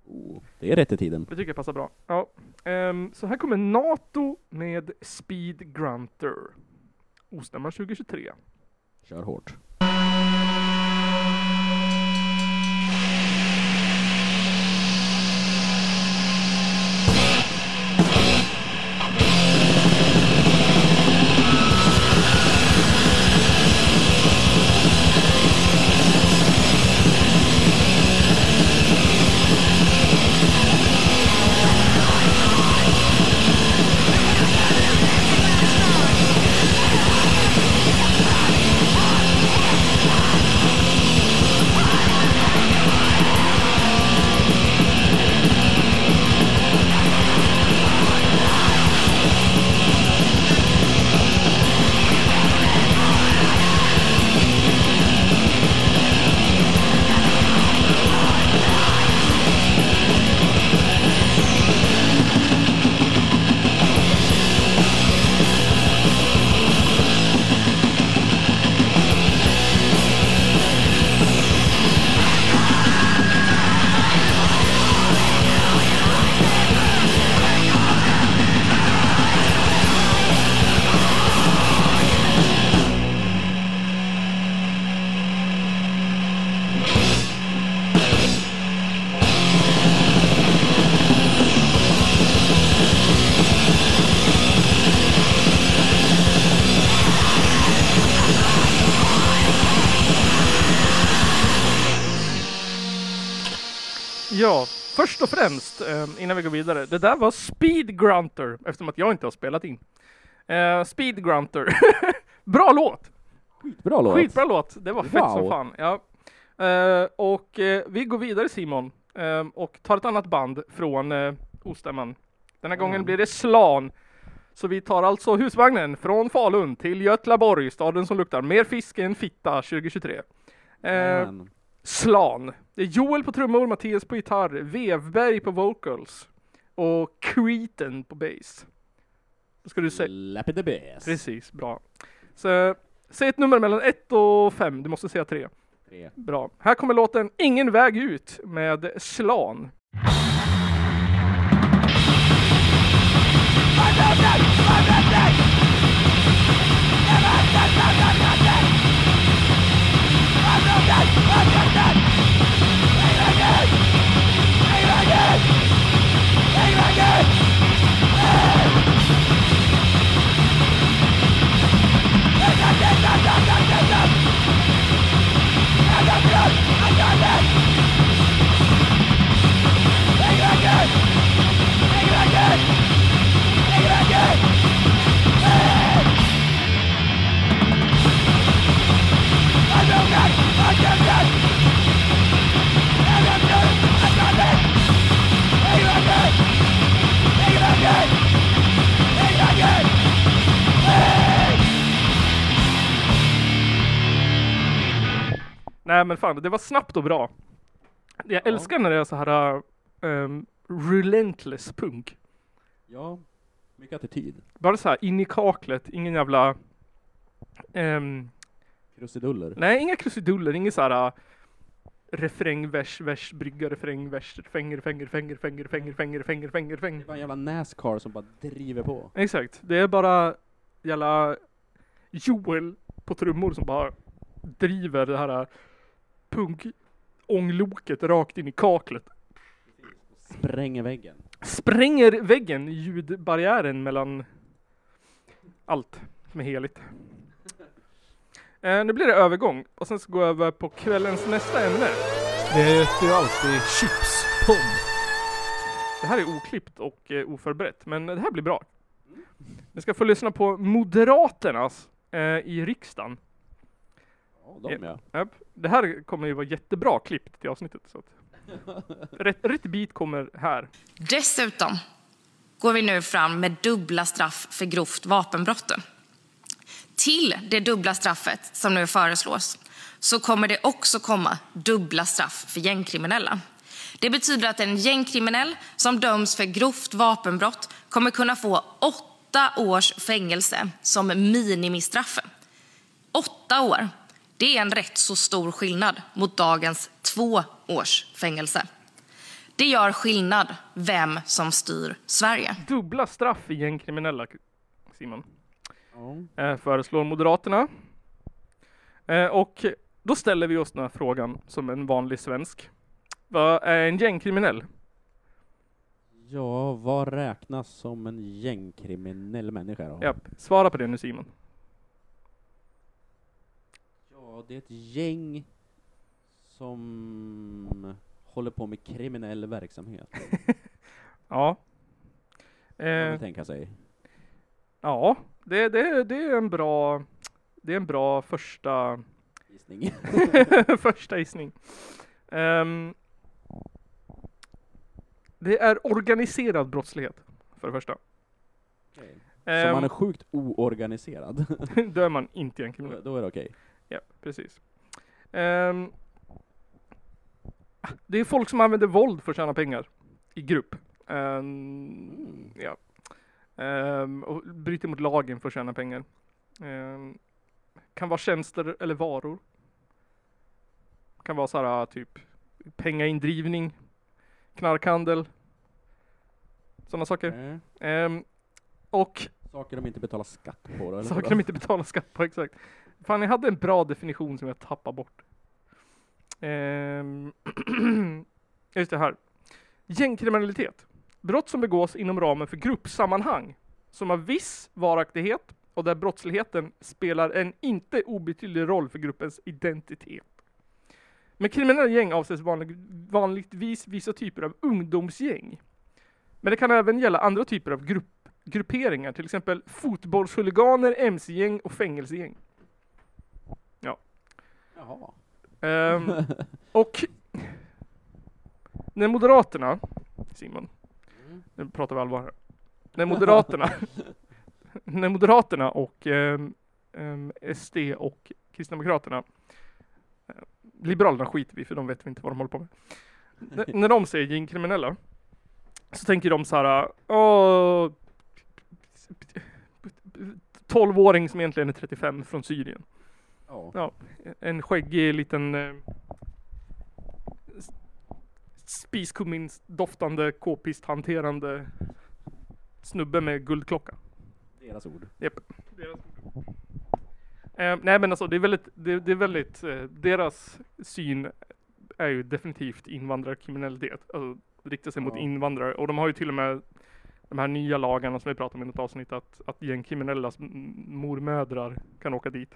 Oh, det är rätt i tiden.
Det tycker jag passar bra. Ja. ehm, så här kommer NATO med Speed Grunter. Ostämman 2023.
Kör hårt.
Thank
Ja, först och främst, eh, innan vi går vidare. Det där var Speed Grunter, eftersom att jag inte har spelat in. Eh, Speed Grunter. Bra låt!
Bra låt.
Skitbra låt! Det var fett som
Wow.
fan. Ja. Eh, och eh, vi går vidare Simon, eh, och tar ett annat band från eh, Ostämman. Den här gången blir det Slan. Så vi tar alltså husvagnen från Falun till Götlaborg, staden som luktar mer fisk än fitta 2023. Eh,
Men,
Slan. Det är Joel på trummor, Mattias på gitarr, Vevberg på vocals och Cretan på bass. Då ska du säga...
Lappy the best.
Precis, bra. Så, säg ett nummer mellan 1 och 5, du måste säga 3.
Tre.
Bra. Här kommer låten Ingen väg ut med Slan. Nej men fan, det var snabbt och bra. Jag älskar när det är så här um, relentless punk.
Ja, mycket attityd.
Bara så här in i kaklet, ingen jävla... ehm,
Krusiduller.
nej, inga krusiduller, ingen så här uh, refräng, vers, vers, brygga, refräng, vers, fänger, fänger, fänger, fänger, fänger, fänger, fänger, fänger, fänger.
Det var en jävla Nascar som bara driver på.
Exakt, det är bara jävla Joel på trummor som bara driver det här äh, punk-ångloket rakt in i kaklet.
Spränger väggen.
Spränger väggen, ljudbarriären mellan allt som är heligt. Eh, nu blir det övergång och sen så går jag över på kvällens nästa ämne.
Det heter ju alltid chipspump.
Det här är oklippt och eh, oförberett, men det här blir bra. Ni ska få lyssna på Moderaternas eh, i riksdagen.
Ja, de ja.
Japp. Det här kommer ju vara jättebra klippt till avsnittet. Så att. Rätt, rätt bit kommer här.
Dessutom går vi nu fram med dubbla straff för grovt vapenbrott. Till det dubbla straffet som nu föreslås så kommer det också komma dubbla straff för gängkriminella. Det betyder att en gängkriminell som döms för grovt vapenbrott kommer kunna få åtta års fängelse som minimistraff. Åtta år, det är en rätt så stor skillnad mot dagens två års fängelse. Det gör skillnad vem som styr Sverige.
Dubbla straff för gängkriminella, Simon,
Ja.
eh, föreslår Moderaterna. Eh, och då ställer vi oss den här frågan som en vanlig svensk. Vad är en gängkriminell?
ja, vad räknas som en gängkriminell människa då?
Japp. Svara på det nu Simon.
Ja, det är ett gäng som håller på med kriminell verksamhet. Kan
Ja.
man
Eh,
väl tänka sig.
ja, det, det, det är en bra, det är en bra första
Gissning.
Första gissning. Ehm, det är organiserad brottslighet, för det första.
Så
Ehm,
man är sjukt oorganiserad,
då är man inte en kriminell.
då är det okej.
Ja, precis. Ehm, det är folk som använder våld för att tjäna pengar i grupp.
Mm.
Ehm, ja. Ehm, och bryter mot lagen för att tjäna pengar. Ehm, kan vara tjänster eller varor. Kan vara så här typ pengaindrivning, knarkhandel, sådana saker.
Eh,
Ehm, och
Saker de inte betalar skatt på då, eller
Saker
vadå?
de inte betalar skatt på, exakt. Fan, jag hade en bra definition som jag tappade bort. Ehm, just det här. Gängkriminalitet. Brott som begås inom ramen för gruppsammanhang, som har viss varaktighet och där brottsligheten spelar en inte obetydlig roll för gruppens identitet. Med kriminella gäng avses vanlig, vanligtvis vissa typer av ungdomsgäng. Men det kan även gälla andra typer av grupp, grupperingar, till exempel fotbollshuliganer, mc-gäng och fängelsegäng. Ja.
Jaha.
Ehm, och när Moderaterna, Simon, nu pratar vi allvar här. När Moderaterna, när Moderaterna och ehm, ehm, SD och Kristdemokraterna, eh, Liberalerna skiter vi i, för de vet vi inte vad de håller på med. N- när de säger gängkriminella så tänker de så här, åh, 12-åring som egentligen är 35 från Syrien
Ja.
en skäggig liten eh, s- spiskumminsdoftande k-pisthanterande snubbe med guldklocka.
Deras ord.
Japp. Deras... Eh, nej men alltså det är väldigt, det, det är väldigt, eh, deras syn är ju definitivt invandrarkriminalitet. Alltså riktar sig mot
Ja.
invandrare och de har ju till och med de här nya lagarna som vi pratade om i något avsnitt att, att gängkriminellas m- mormödrar kan åka dit.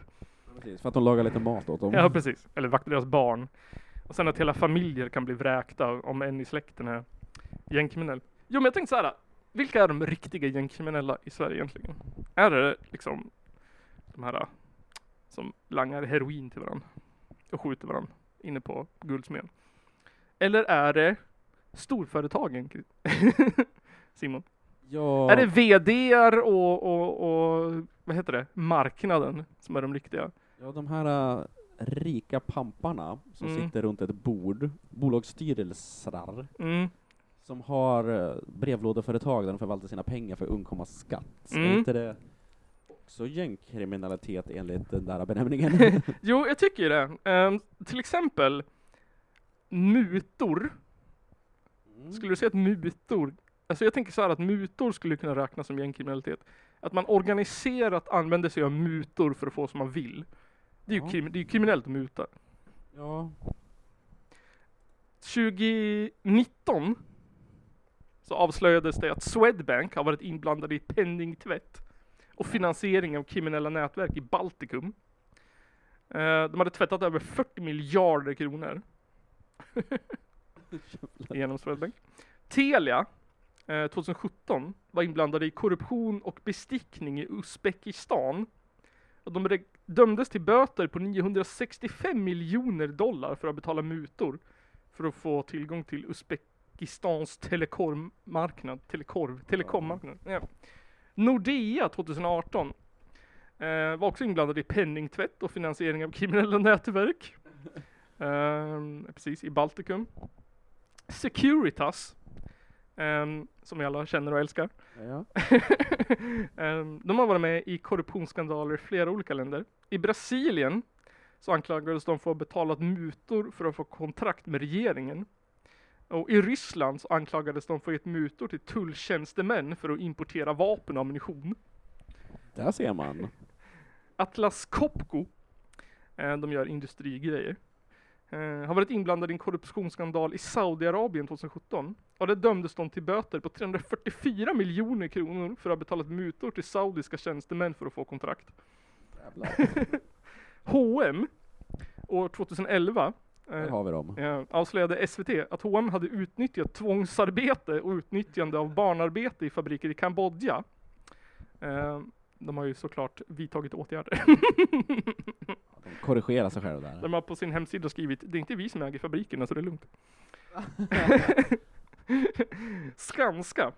Precis, för att de lagar lite mat åt dem.
Ja precis, eller vakta deras barn. Och sen att hela familjer kan bli vräkta om en i släkten är gängkriminell. Jo men jag tänkte så här, vilka är de riktiga gängkriminella i Sverige egentligen? Är det liksom de här äh, som langar heroin till varandra och skjuter varandra inne på Guldsmeden? Eller är det storföretagen? Simon?
Ja,
Är det VDR och, och, och vad heter det, marknaden som är de riktiga?
ja, de här äh, rika pamparna som
Mm.
sitter runt ett bord, bolagsstyrelser,
Mm.
som har äh, brevlådeföretag där de förvaltar sina pengar för att undkomma skatt.
Mm.
Är inte det också gängkriminalitet enligt den där benämningen?
Jo, jag tycker ju det. Ehm, till exempel mutor. Skulle du säga att mutor, alltså jag tänker så här att mutor skulle kunna räknas som gängkriminalitet. Att man organiserat använder sig av mutor för att få som man vill. Det är ju,
Ja.
krim, det är ju kriminellt att muta.
ja,
2019 så avslöjades det att Swedbank har varit inblandade i penningtvätt och finansiering av kriminella nätverk i Baltikum. Eh, De hade tvättat över 40 miljarder kronor. Genom Swedbank. Telia eh, 2017 var inblandade i korruption och bestickning i Uzbekistan. Och de re- dömdes till böter på 965 miljoner dollar för att betala mutor för att få tillgång till Uzbekistans telekorvmarknad. Telekorv, telekommarknad. Ja. Nordea 2018 eh, var också inblandad i penningtvätt och finansiering av kriminella nätverk. Ehm, precis, i Baltikum. Securitas, ehm, som vi alla känner och älskar.
ja.
Ehm, de har varit med i korruptionsskandaler i flera olika länder. I Brasilien så anklagades de för att ha betalat mutor för att få kontrakt med regeringen. Och i Ryssland så anklagades de för att ha gett mutor till tulltjänstemän för att importera vapen och ammunition.
där ser man.
Atlas Copco, eh, de gör industrigrejer, eh, har varit inblandade i en korruptionsskandal i Saudiarabien 2017. Och där dömdes de till böter på 344 miljoner kronor för att ha betalat mutor till saudiska tjänstemän för att få kontrakt. H&M år 2011
Där
eh,
har vi dem.
eh, avslöjade SVT att H&M hade utnyttjat tvångsarbete och utnyttjande av barnarbete i fabriker i Kambodja. Eh, de har ju såklart vidtagit åtgärder.
De korrigerar sig själva där.
De har på sin hemsida skrivit det är inte vi som äger fabrikerna så det är lugnt. Skanska,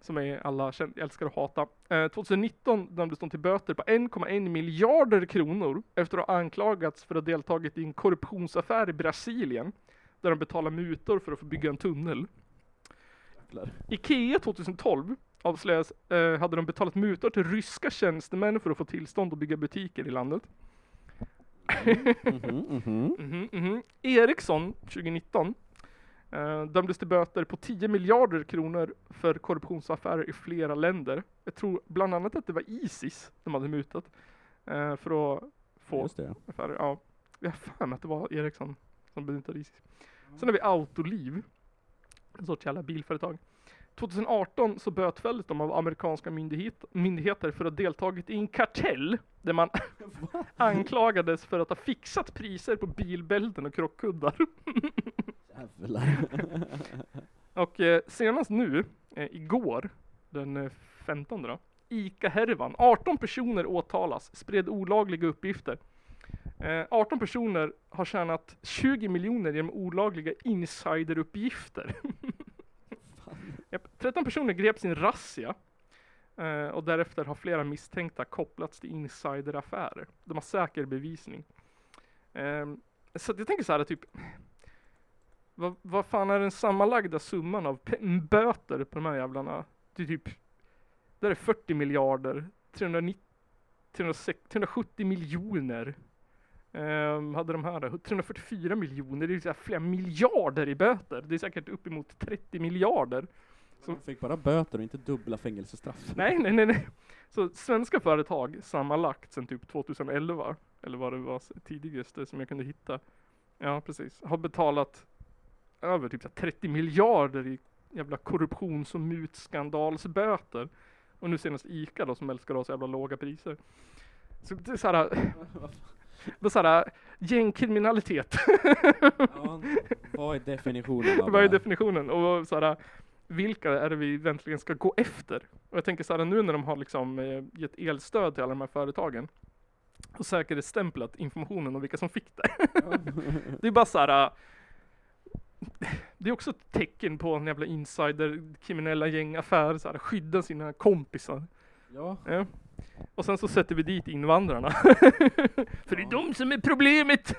som är alla kän- älskar att hata. Eh, 2019 dömdes de till böter på 1,1 miljarder kronor efter att ha anklagats för att ha deltagit i en korruptionsaffär i Brasilien där de betalar mutor för att få bygga en tunnel.
Jäklar.
Ikea 2012 avslöjas eh, hade de betalat mutor till ryska tjänstemän för att få tillstånd att bygga butiker i landet.
Mhm, mhm.
Mhm, mhm. Ericsson 2019 eh, dömdes till böter på 10 miljarder kronor för korruptionsaffärer i flera länder. Jag tror bland annat att det var Isis de hade mutat eh, för att få
Just det.
affärer. Ja, jag har för mig att det var Ericsson som benutade Isis. Sen har vi Autoliv, en sorts jävla bilföretag. 2018 så bötfälldes de av amerikanska myndighet, myndigheter för att ha deltagit i en kartell där man anklagades för att ha fixat priser på bilbälten och krockkuddar.
Jävlar.
Och eh, senast nu, eh, igår, den eh, 15 då, ICA-härvan. 18 personer åtalas, spred olagliga uppgifter. Eh, 18 personer har tjänat 20 miljoner genom olagliga insideruppgifter. Japp, 13 personer greps i en razzia. Eh, och därefter har flera misstänkta kopplats till insideraffärer. De har säker bevisning. Ehm, så att jag tänker så här, typ, vad, vad fan är den sammanlagda summan av pe- böter på de här jävlarna? Det är typ, där är 40 miljarder, 390, 306, 370 miljoner. Ehm, hade de här då, 344 miljoner, det är ju så här flera miljarder i böter. Det är säkert uppemot 30 miljarder.
De fick bara böter och inte dubbla fängelsestraff.
Nej, nej, nej, nej. Så svenska företag sammanlagt sedan typ 2011, eller vad det var s- tidigaste som jag kunde hitta. Ja, precis. Har betalat över typ så här 30 miljarder i jävla korruptions och mutskandalsböter. Och nu senast ICA då som älskar att ha så jävla låga priser. Så det är såhär, det är såhär gängkriminalitet.
Ja, vad är definitionen av
Vad är
det här?
definitionen? Och såhär, vilka är det vi egentligen ska gå efter? Och jag tänker såhär, nu när de har liksom eh, gett elstöd till alla de här företagen och säkerhetsstämplat informationen om vilka som fick det. det är bara såhär, eh, det är också ett tecken på en jävla insider, kriminella gängaffär, såhär, skydda sina kompisar.
Ja,
Ja. Och sen så sätter vi dit invandrarna. För det är de som är problemet!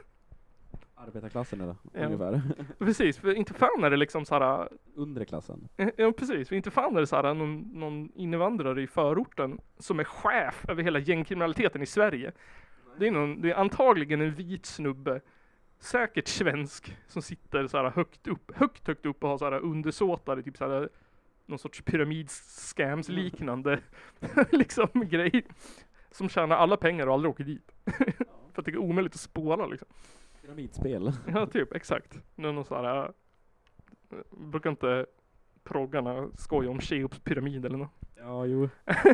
arbetarklassen eller?
Ja.
Ungefär.
Precis, för inte fan är det liksom såhär,
Undre klassen.
Ja, Eh, Ja precis, för inte fan är det så här någon, någon invandrare i förorten som är chef över hela gängkriminaliteten i Sverige. Det är, någon, det är antagligen en vit snubbe, säkert svensk, som sitter så här högt upp, högt högt upp och har så här undersåtar i typ så här någon sorts pyramidskams liknande liksom grej. Som tjänar alla pengar och aldrig åker dit. För att det är omöjligt att spåra liksom.
Pyramidspel.
Ja, typ exakt. Någon någon sån här, eh, brukar inte proggarna skoja om Cheops pyramid eller något?
Ja, jo.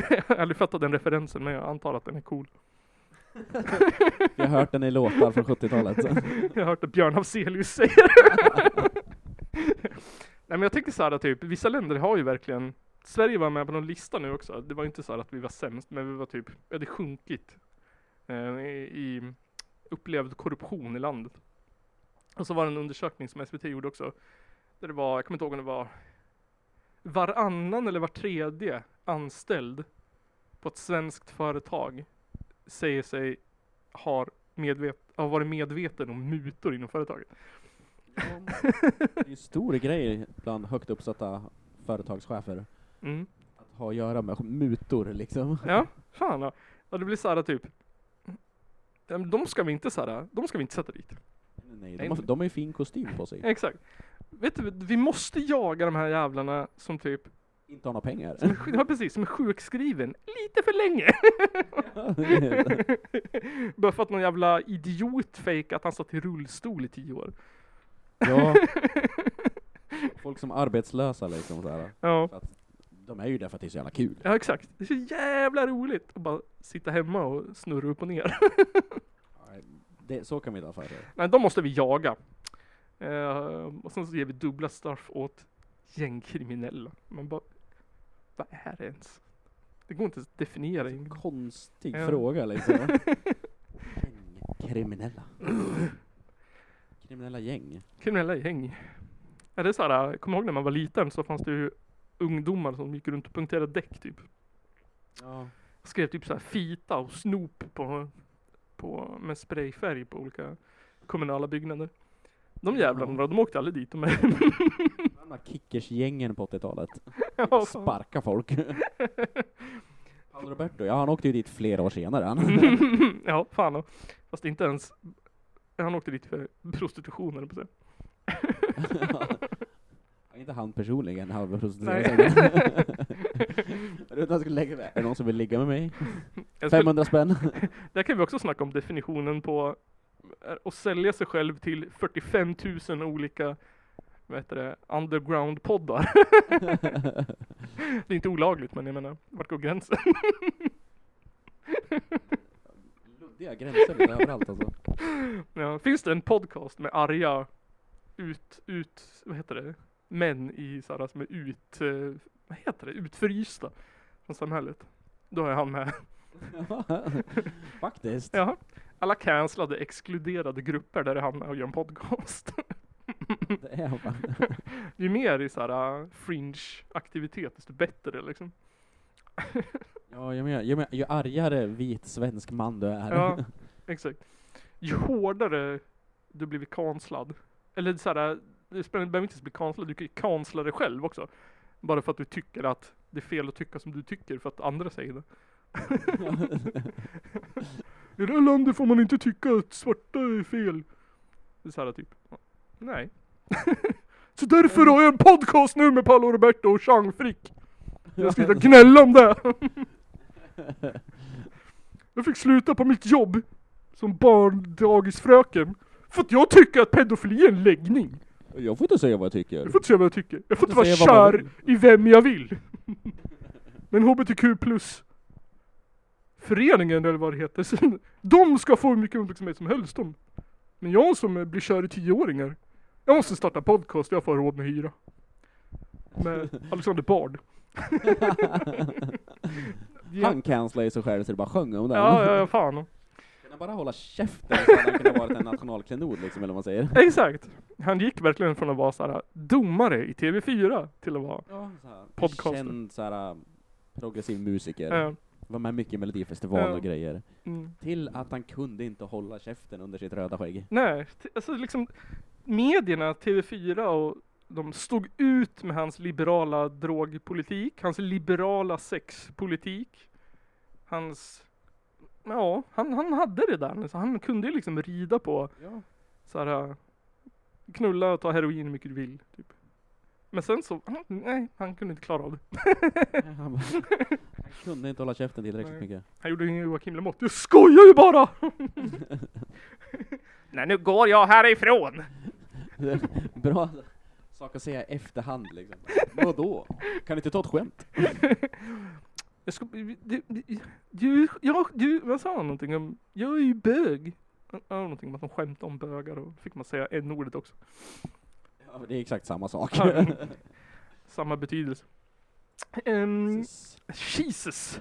jag har aldrig fattat den referensen, men jag antar att den är cool.
Vi har hört den i låtar från 70-talet.
jag har hört att Björn Afzelius säger Nej men jag tänker så här typ, vissa länder har ju verkligen Sverige var med på någon lista nu också, det var ju inte så här att vi var sämst, men vi var typ, vi hade sjunkit eh, i, i upplevd korruption i landet. Och så var det en undersökning som SVT gjorde också, där det var, jag kommer inte ihåg om det var varannan eller var tredje anställd på ett svenskt företag säger sig har medvet har varit medveten om mutor inom företaget.
Det är en stor grej bland högt uppsatta företagschefer
Mm.
att ha att göra med mutor liksom.
Ja, fan. Ja. Och det blir såhär typ. ja, men De ska vi inte såhär, de ska vi inte sätta dit.
Nej, de, har, de har ju fin kostym på sig.
Exakt. Vet du, vi måste jaga de här jävlarna som typ,
Inte har några pengar.
som är, sj- ja, precis, som är sjukskriven lite för länge. Bara för att någon jävla idiot fejkade att han satt i rullstol i tio år.
ja. Folk som är arbetslösa liksom så här.
Ja.
För att de är ju där för att det är så jävla kul.
Ja exakt, det är så jävla roligt att bara sitta hemma och snurra upp och ner.
Det, så kan vi inte ha för det.
Nej, de måste vi jaga. Eh, och sen så ger vi dubbla straff åt gängkriminella. Man bara, vad är det ens? Det går inte att definiera. in-
Konstig
Ja.
fråga liksom. Kriminella. Kriminella gäng.
Kriminella gäng. Är det så här, jag kommer ihåg när man var liten så fanns det ju ungdomar som gick runt och punkterade däck typ.
Ja.
Skrev typ så här fita och snop på, på, med sprayfärg på olika kommunala byggnader. De jävlarna då, de åkte aldrig dit. De är,
De här kickersgängen på 80-talet.
Ja, fan.
Sparka folk. Paolo Roberto, ja han åkte ju dit flera år senare han.
ja, fan då. Fast inte ens, han åkte dit för prostitution eller på sig.
Ja, inte han personligen, han var prostituerad.
Nej.
Jag vet inte, han skulle lägga med. Är det någon som vill ligga med mig?
Jag skulle,
500 spänn.
där kan vi också snacka om definitionen på eh, att sälja sig själv till 45 000 olika vad heter det, underground-poddar. det är inte olagligt, men jag menar, vart går gränsen?
Luddiga gränser lite överallt alltså.
Ja, finns det en podcast med arga ut, ut, vad heter det, män i så här, som är ut, eh, vad heter det, utfrysta från samhället? Då är han med.
Faktiskt.
Ja. Alla cancellade, exkluderade grupper där det hamnar och gör en podcast.
Det är man.
Ju mer i så här äh, fringe-aktivitet, desto bättre liksom.
Ja, jag menar, jag menar, ju argare vit svensk man du är.
Ja, exakt. Ju hårdare du blivit cancellad, eller så här, det spelar- behöver inte ens bli cancellad, du kan ju cancella dig själv också. Bara för att du tycker att det är fel att tycka som du tycker för att andra säger det. I det här landet får man inte tycka att svarta är fel. Det är så här typ. Nej. så därför har jag en podcast nu med Paolo Roberto och Chang Frick. Jag ska inte gnälla om det. jag fick sluta på mitt jobb som barndagisfröken. För att jag tycker att pedofili är en läggning.
Jag får inte säga vad jag tycker.
Jag får inte säga vad jag tycker. Jag får
Du
inte vara
säger vad
kär
man
i vem jag vill. Men HBTQ plus föreningen eller vad det heter, så de ska få hur mycket uppmärksamhet som helst de. Men jag som blir kär i tioåringar, jag måste starta podcast jag får råd med hyra. Med Alexander Bard.
Han cancellade ju sig själv så det bara sjöng om det.
Ja, ja, ja, fan.
Kan han bara hålla käften så hade han kunnat vara en nationalklenod liksom, eller vad man säger.
Exakt. Han gick verkligen från att vara såhär domare i TV4 till att vara
Ja, så här,
Podcaster.
Känd så här, progressiv musiker.
eh,
Var med mycket i Melodifestivalen
Ja.
och grejer.
mm.
Till att han kunde inte hålla käften under sitt röda skägg.
Nej, t- alltså liksom medierna, TV4 och de stod ut med hans liberala drogpolitik, hans liberala sexpolitik, hans, ja, han, han hade det där. Så han kunde ju liksom rida på
Ja.
så här, äh, knulla och ta heroin hur mycket du vill, typ. Men sen så, han, nej, han kunde inte klara av det.
Han, bara, han kunde inte hålla käften tillräckligt
Nej.
mycket.
Han gjorde ju Joakim Lamotte. Jag skojar ju bara! nej, nu går jag härifrån!
Bra sak att säga i efterhand liksom. Vadå? Kan du inte ta ett skämt?
Jag ska, du, du, du, jag, du, vad sa han någonting om? Jag är ju bög. Han sa någonting om att de skämtade om bögar och fick man säga n-ordet också.
Ja, men det är exakt samma sak.
Ja. mm. Samma betydelse. Um,
Precis.
Jesus!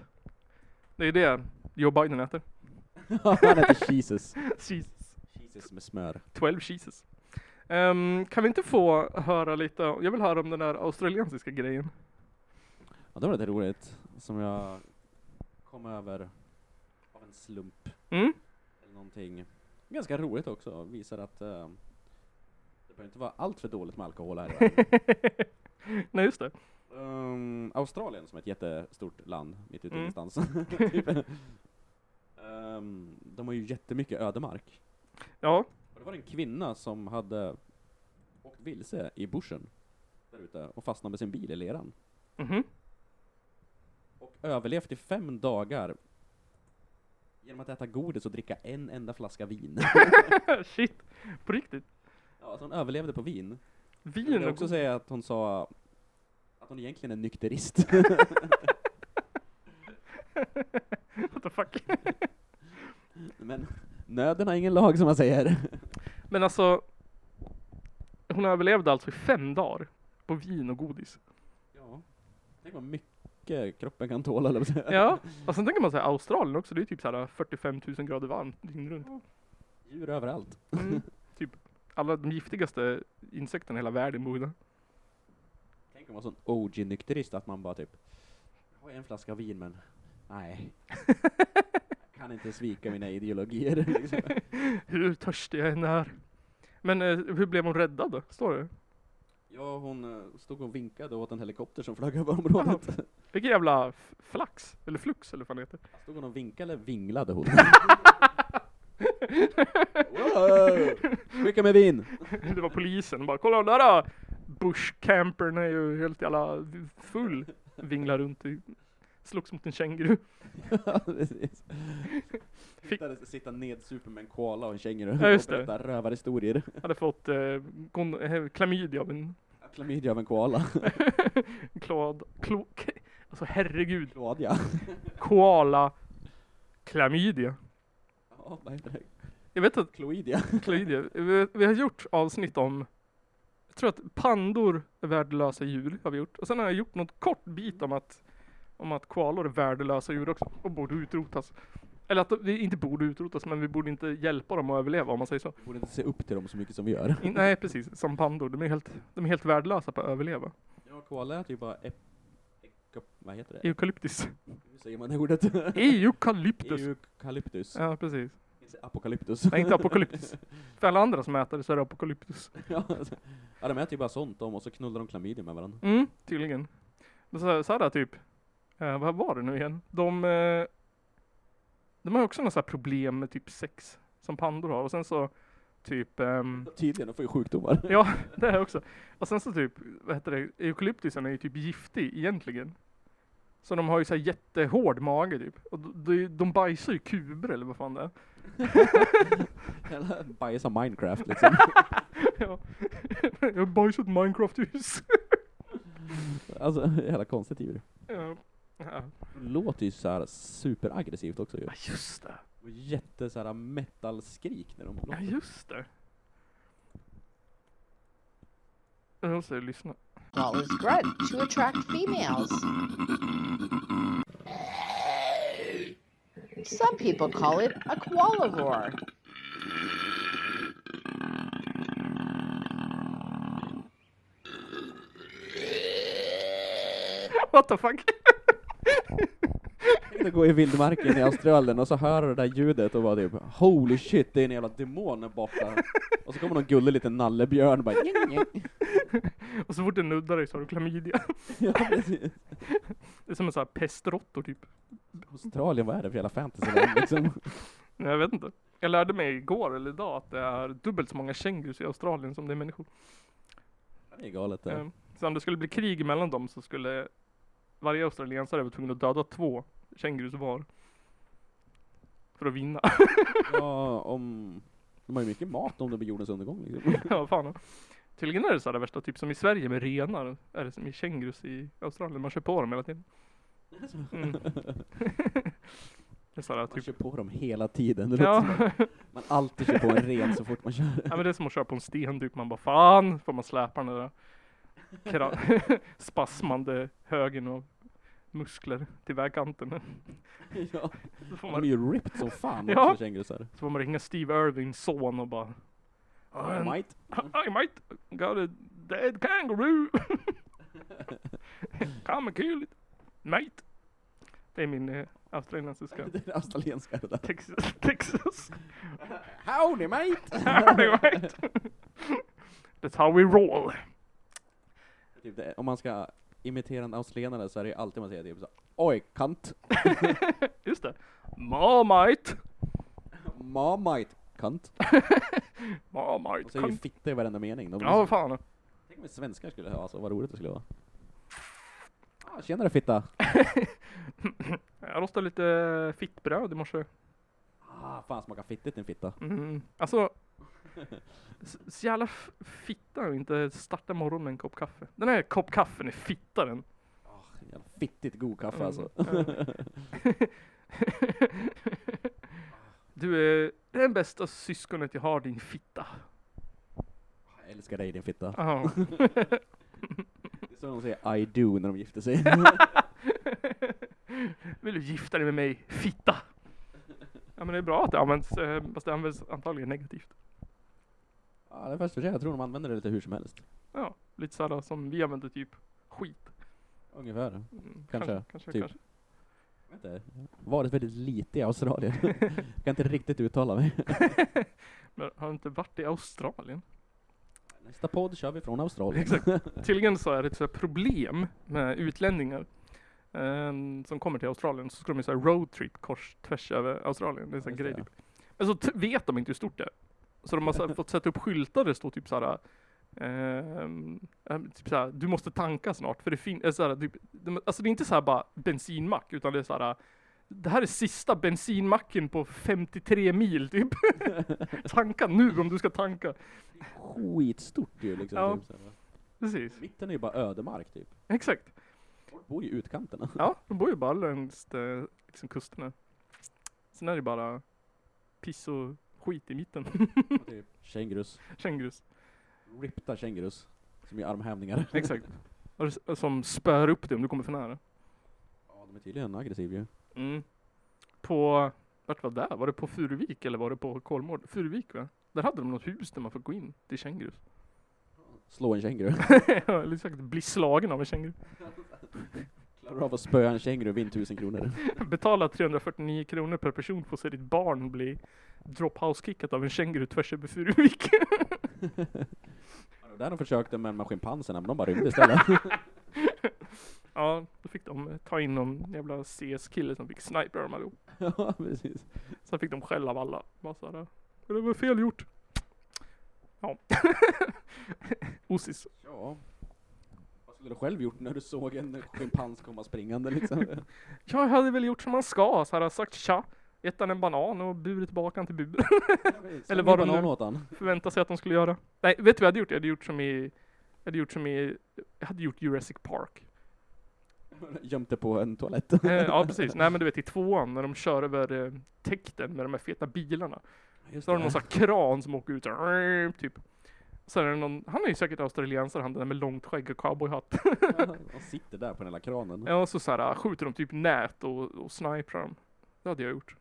Det är det Joe Biden äter.
Han heter Jesus.
Jesus.
Jesus med smör.
12 Jesus. Ehm, kan vi inte få höra lite, jag vill höra om den där australiensiska grejen.
Ja, det var lite roligt, som jag kom över av en slump.
Mm?
Eller någonting. Ganska roligt också, visar att eh, det behöver inte vara allt för dåligt med alkohol här i världen.
Nej just det.
Ehm, Australien som är ett jättestort land, mitt ute i
Mm.
ingenstans. typ. Ehm, de har ju jättemycket ödemark.
Ja.
Och det var en kvinna som hade åkt vilse i bushen där ute och fastnat med sin bil i leran.
Mhm.
och överlevt i fem dagar genom att äta godis och dricka en enda flaska vin.
Shit. På riktigt.
ja, alltså hon överlevde på vin. Jag
Vin
vill
och
också
god-
säga att hon sa att hon egentligen är nykterist.
What the fuck.
Men nöden har ingen lag som man säger.
Men alltså, hon överlevde alltså i fem dagar på vin och godis.
Ja. Tänk vad mycket kroppen kan tåla, eller vad
Ja, och sen tänker man säga Australien också, det är typ så här 45 000 grader varmt dygnet runt.
Djur överallt.
Typ alla de giftigaste insekterna i hela världen bor där.
Tänk om man var sån OG-nykterist att man bara typ, jag har en flaska vin men, nej. Jag kan inte svika mina ideologier. Liksom.
Hur törstig jag än är. Men eh, hur blev hon räddad då? Står det?
Ja, hon eh, stod och vinkade åt en helikopter som flög över området.
Vilken jävla f- flax, eller flux eller vad fan det heter.
Stod hon och vinkade eller vinglade hon? Skicka med vin!
Det var polisen, bara kolla den där ah! då! Bushcampern är ju helt jävla full. Vinglar runt i slogs mot en känguru.
precis. Hittades sitta nedsupen med en koala och en känguru
Ja, just
och berätta rövarhistorier.
Hade fått eh, kon- eh, klamydia av en
Klamydia av en koala.
klad, klo, k- alltså herregud,
Klådia.
koala, klamydia.
Ja, vad heter det?
Jag vet att
Kloidia.
klamydia, vi, vi har gjort avsnitt om, jag tror att pandor är värdelösa djur, har vi gjort. Och sen har jag gjort något kort bit om att, om att koalor är värdelösa djur också och borde utrotas. Eller att vi inte borde utrotas, men vi borde inte hjälpa dem att överleva om man säger så.
Vi borde inte se upp till dem så mycket som vi gör.
In, nej precis, som pandor. De är helt, de är helt värdelösa på att överleva.
Ja,
typ
koala äter ju bara ep... ekop- Vad heter det?
Eukalyptus.
Hur säger man det ordet?
Eukalyptus!
Eukalyptus.
Ja precis.
Inte Apokalyptus.
Nej inte apokalyptus. För alla andra som äter det så är det apokalyptus.
ja, alltså. ja, de äter ju bara sånt om och så knullar de klamydia med varandra.
Mm, tydligen. Men Så, så här typ, eh, vad var det nu igen? De, eh, de har också några så här problem med typ sex som pandor har och sen så typ ehm,
Tydligen, de får ju sjukdomar.
Ja, det är också. Och sen så typ, vad heter det, eukalyptusen är ju typ giftig egentligen. Så de har ju så här jättehård mage typ. Och de, de bajsar ju kuber eller vad fan det är.
Eller bajsar Minecraft liksom.
Ja. Jag har bajsat Minecraft-hus.
alltså, hela konstigt djur.
Ja. ja,
Låter ju såhär superaggressivt också ju.
just det.
Och jätte såhär metal-skrik när de
Ja,
låter.
just det. Jag måste lyssna.
Collars grunt to attract females. Some people call it a koala roar.
What the fuck?
Du går i vildmarken i Australien och så hör du det där ljudet och bara typ Holy shit, det är en jävla demon där borta. Och så kommer någon gullig liten nallebjörn och bara "Njing, njing."
Och så fort den nuddar dig så har du klamydia.
Ja precis.
Det är som en sån här pestråttor typ.
Australien, vad är det för jävla fantasyland liksom?
Nej, Jag vet inte. Jag lärde mig igår eller idag att det är dubbelt så många kängurus i Australien som det är människor.
Det är galet det.
Eh, Så om det skulle bli krig mellan dem så skulle varje australiensare vara tvungen att döda två kängurus var. För att vinna.
Ja, om... De har ju mycket mat om det blir jordens undergång liksom.
ja, fan. Tydligen är det så här det värsta, typ som i Sverige med renar, är det som i kängurus i Australien. Man kör på dem hela tiden. Mm. det är så här,
Man
typ.
kör på dem hela tiden. Det låter
Ja.
som att man alltid kör på en ren så fort man kör.
ja, men det är som att köra på en sten typ. Man bara fan, får man släpa den där kra- spasmande högen av muskler till vägkanten.
Ja.
Så får
De är
man
ju ripped som fan
Ja.
också kängurusar.
Så får man ringa Steve Irvings son och bara
Ja,
I,
Might.
I might got a dead kangaroo. Come and kill it, mate. Det är min eh, australiensiska.
Det är australienska det där.
Texas. Texas.
Howdy mate!
Howdy, mate. That's how we roll.
Typ det, om man ska imitera en australienare så är det ju alltid man säger typ så Oj, kant.
Just det. Marmite.
Marmite. Kant. De
Marmite.
säger ju
Kan...
fitta i varenda mening. De
Ja, vad fan.
Tänk om vi svenskar skulle ha, alltså vad roligt det skulle vara. Ah, tjenare fitta!
Jag rostade lite eh, fittbröd i morse.
Ah, fan smakar fittigt din fitta.
Mm. Alltså, s- så jävla f- fitta att inte starta morgonen med en kopp kaffe. Den här kopp kaffen är fittaren.
Jävla fittigt god kaffe
Mm.
alltså.
Du är den bästa syskonet jag har, din fitta.
Jag älskar dig din fitta.
Ja.
Det är så de säger I do när de gifter sig.
Vill du gifta dig med mig, fitta? Ja men det är bra att det används, eh, fast det används antagligen negativt.
Ja, det är först för sig. Jag tror de använder det lite hur som helst.
Ja, lite sådär som vi använder typ skit.
Ungefär.
Mm,
Kanske,
kanske,
typ.
kanske.
Jag vet inte. Varit eh, väldigt lite i Australien. jag kan inte riktigt uttala mig.
Men har du inte varit i Australien?
Nästa podd kör vi från Australien.
Exakt. Tydligen så är det ett så här problem med utlänningar ehm, som kommer till Australien så ska de ju såhär roadtrip kors tvärs över Australien. Det är en sån
Just det,
grej
ja.
typ. Men så t- vet de inte hur stort det är. Så de har så här fått sätta upp skyltar där det står typ såhär Ehm, ehm, typ såhär, du måste tanka snart, för det finns, typ, de- alltså det är inte såhär bara bensinmack, utan det är såhär, det här är sista bensinmacken på 53 mil typ. tanka nu om du ska tanka.
Skitstort ju liksom.
Ja.
Typ, så här.
Precis,
Mitten är ju bara ödemark typ.
exakt.
Folk bor ju i utkanterna.
Ja, de bor ju bara längs eh, liksom, kusterna. Sen är det bara piss och skit i mitten.
typ. Kängurus.
Kängurus.
Rippta kängurus. Som gör armhävningar.
Exakt. Och s- och Som spöar upp dig om du kommer för nära.
Ja, de är tydligen aggressiva ju.
Mm. På, vart var det? där? Var det på Furuvik eller var det på Kolmården? Furuvik va? Där hade de något hus där man fick gå in till kängurus.
Slå en känguru.
Ja, eller sagt bli slagen av en känguru.
Klarar du av att spöa en känguru vinn 1000 kronor.
Betala 349 kronor per person för att se ditt barn bli drophouse-kickat av en känguru tvärs över Furuvik.
Där de försökte med, med schimpanserna men de bara rymde istället.
ja, då fick de eh, ta in någon jävla CS-kille som fick sniper dem allihop.
ja, precis.
Sen fick de skäll av alla. Bara så här, det var fel gjort. Ja. Osis.
Ja. Vad skulle du själv gjort när du såg en schimpans komma springande liksom?
Ja, jag hade väl gjort som man ska, så här, sagt tja, gett han en banan och burit bak han till bur.
Eller
vad
var
de
de
nu-
nu? Åt han.
Förvänta sig att de skulle göra. Nej, vet du vad jag hade gjort? Jag hade gjort som i, jag hade gjort som i, jag hade gjort Jurassic Park.
Gömde på en toalett.
Eh, ja, precis. Nej, men du vet i tvåan när de kör över eh, täkten med de här feta bilarna.
Just
Så har de någon sån här kran som åker ut såhär, typ. Sen är det någon, han är ju säkert australiensare han den där med långt skägg och cowboyhatt.
De sitter där på den hela kranen.
Ja, och så, så här, skjuter de typ nät och, och sniprar dem. Det hade jag gjort.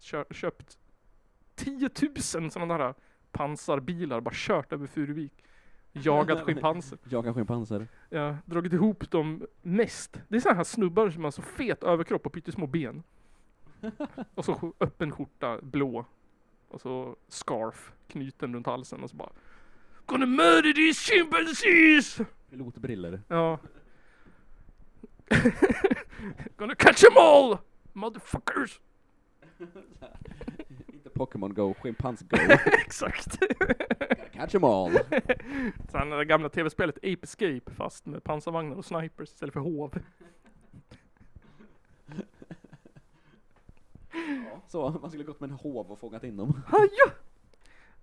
Kö köpt 10 000 sådana där pansarbilar, bara kört över Furuvik. Jagat schimpanser.
Jagar schimpanser.
Jag dragit ihop dem mest. Det är sådana här snubbar som har så fet överkropp och pyttesmå ben. Och så sk- öppen skjorta, blå. Och så scarf, knuten runt halsen och så bara Gonna murder these chimpanzees!
Pilotbriller.
Ja. Gonna catch them all! Motherfuckers!
Inte Pokémon Go, schimpans Go.
Exakt.
Catch 'em all!
Sen det gamla tv-spelet Ape Escape fast med pansarvagnar och snipers istället för hov.
Så, man skulle gått med en hov och fångat in dem.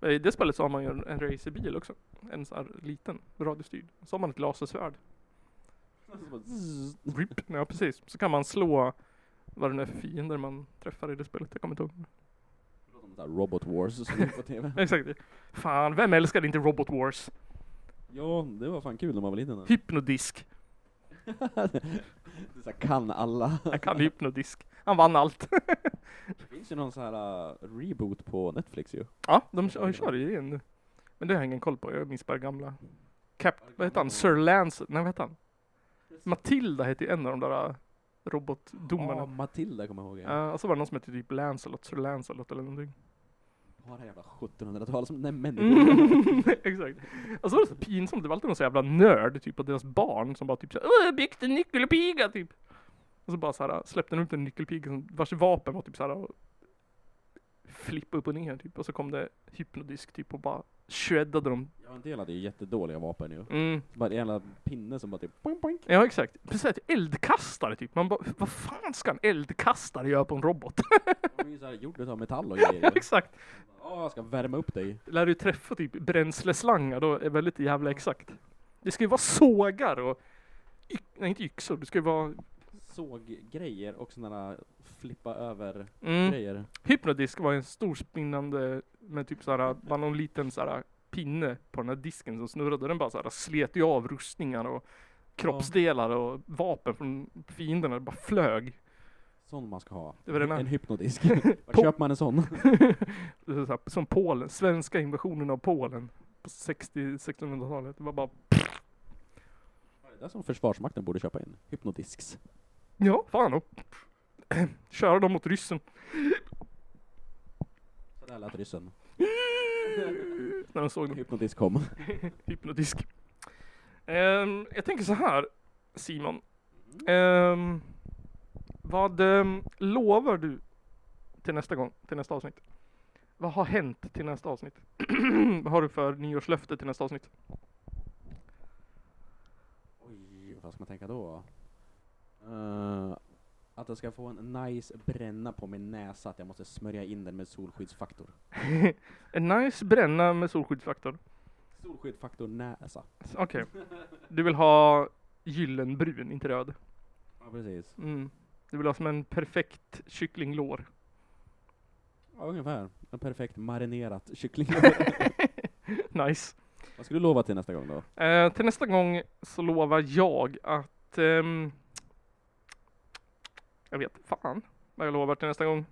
Eh, I det spelet så har man ju en, en racerbil också. En sån här liten, radiostyrd. Så har man ett lasersvärd. Rip. Ja precis. Så kan man slå vad det nu är för fiender man träffar i det spelet. Jag kommer inte ihåg.
Sån där Robot Wars som gick på TV.
Exakt. Fan, vem älskade inte Robot Wars?
Ja, det var fan kul när man var liten.
Hypnodisk.
Det är så här, kan alla.
Jag kan hypnodisk. Han vann allt.
Det finns ju någon sån här äh, reboot på Netflix ju.
Ja, de kör, kör ju igen nu. Men det har jag ingen koll på, jag minns bara gamla. Cap, vad heter han? Sir Lance, nej vad heter han? Matilda heter ju en av de där äh, robotdomarna.
Ja, Matilda kommer jag ihåg. Ja.
Ja, och så var det någon som hette typ Lancelot, Sir Lancelot eller någonting.
Bara det jävla 1700-tal som den människan.
Mm, exakt. Och så var det så pinsamt, det var alltid någon så jävla nörd typ, och deras barn som bara typ såhär Åh, jag byggde en nyckelpiga typ. Och så bara såhär släppte de ut en nyckelpiga som- vars vapen var typ såhär flippa upp och ner typ. Och så kom det hypnodisk typ och bara shreddade dem.
Ja, en del hade ju jättedåliga vapen ju.
Mm.
Bara en jävla pinne som bara typ boing, boing.
Ja exakt, precis ett eldkastare typ. Man bara, vad fan ska en eldkastare göra på en robot?
De är ju såhär gjorda av metall och grejer. ju.
exakt.
Ja, jag ska värma upp dig.
Lär du träffa typ bränsleslangar då är det väldigt jävla exakt. Det ska ju vara sågar och y- nej inte yxor, det ska ju vara
Såg grejer och såna där flippa över
mm.
grejer.
Hypnodisk var en stor spinnande med typ såhär, bara någon liten såhär pinne på den här disken som snurrade. Den bara såhär slet ju av rustningar och kroppsdelar och vapen från fienderna. Det bara flög.
Sån man ska ha.
Det var den här-
En hypnodisk. Var
På-
köper man en sån?
Det är så här, som Polen, svenska invasionen av Polen på 60-1600-talet. Det var bara,
Det där som Försvarsmakten borde köpa in. Hypnodisks.
ja, fan och köra dem mot ryssen.
Så där lät ryssen.
När de såg dem.
Hypnodisk kom.
Hypnotisk. Ehm, jag tänker så här, Simon. Ehm, vad ehm, lovar du till nästa gång, till nästa avsnitt? Vad har hänt till nästa avsnitt? vad har du för nyårslöfte till nästa avsnitt?
vad ska man tänka då? Eh, att jag ska få en nice bränna på min näsa, att jag måste smörja in den med solskyddsfaktor.
En nice bränna med solskyddsfaktor.
Solskyddsfaktor näsa.
Okej. Du vill ha gyllenbrun, inte röd.
Ja, precis.
Mm. Du vill ha som en perfekt kycklinglår.
Ja, ungefär. En perfekt marinerat kyckling.
Nice.
vad ska du lova till nästa gång då?
Eh, till nästa gång så lovar jag att... ehm, jag vet fan vad jag lovar till nästa gång.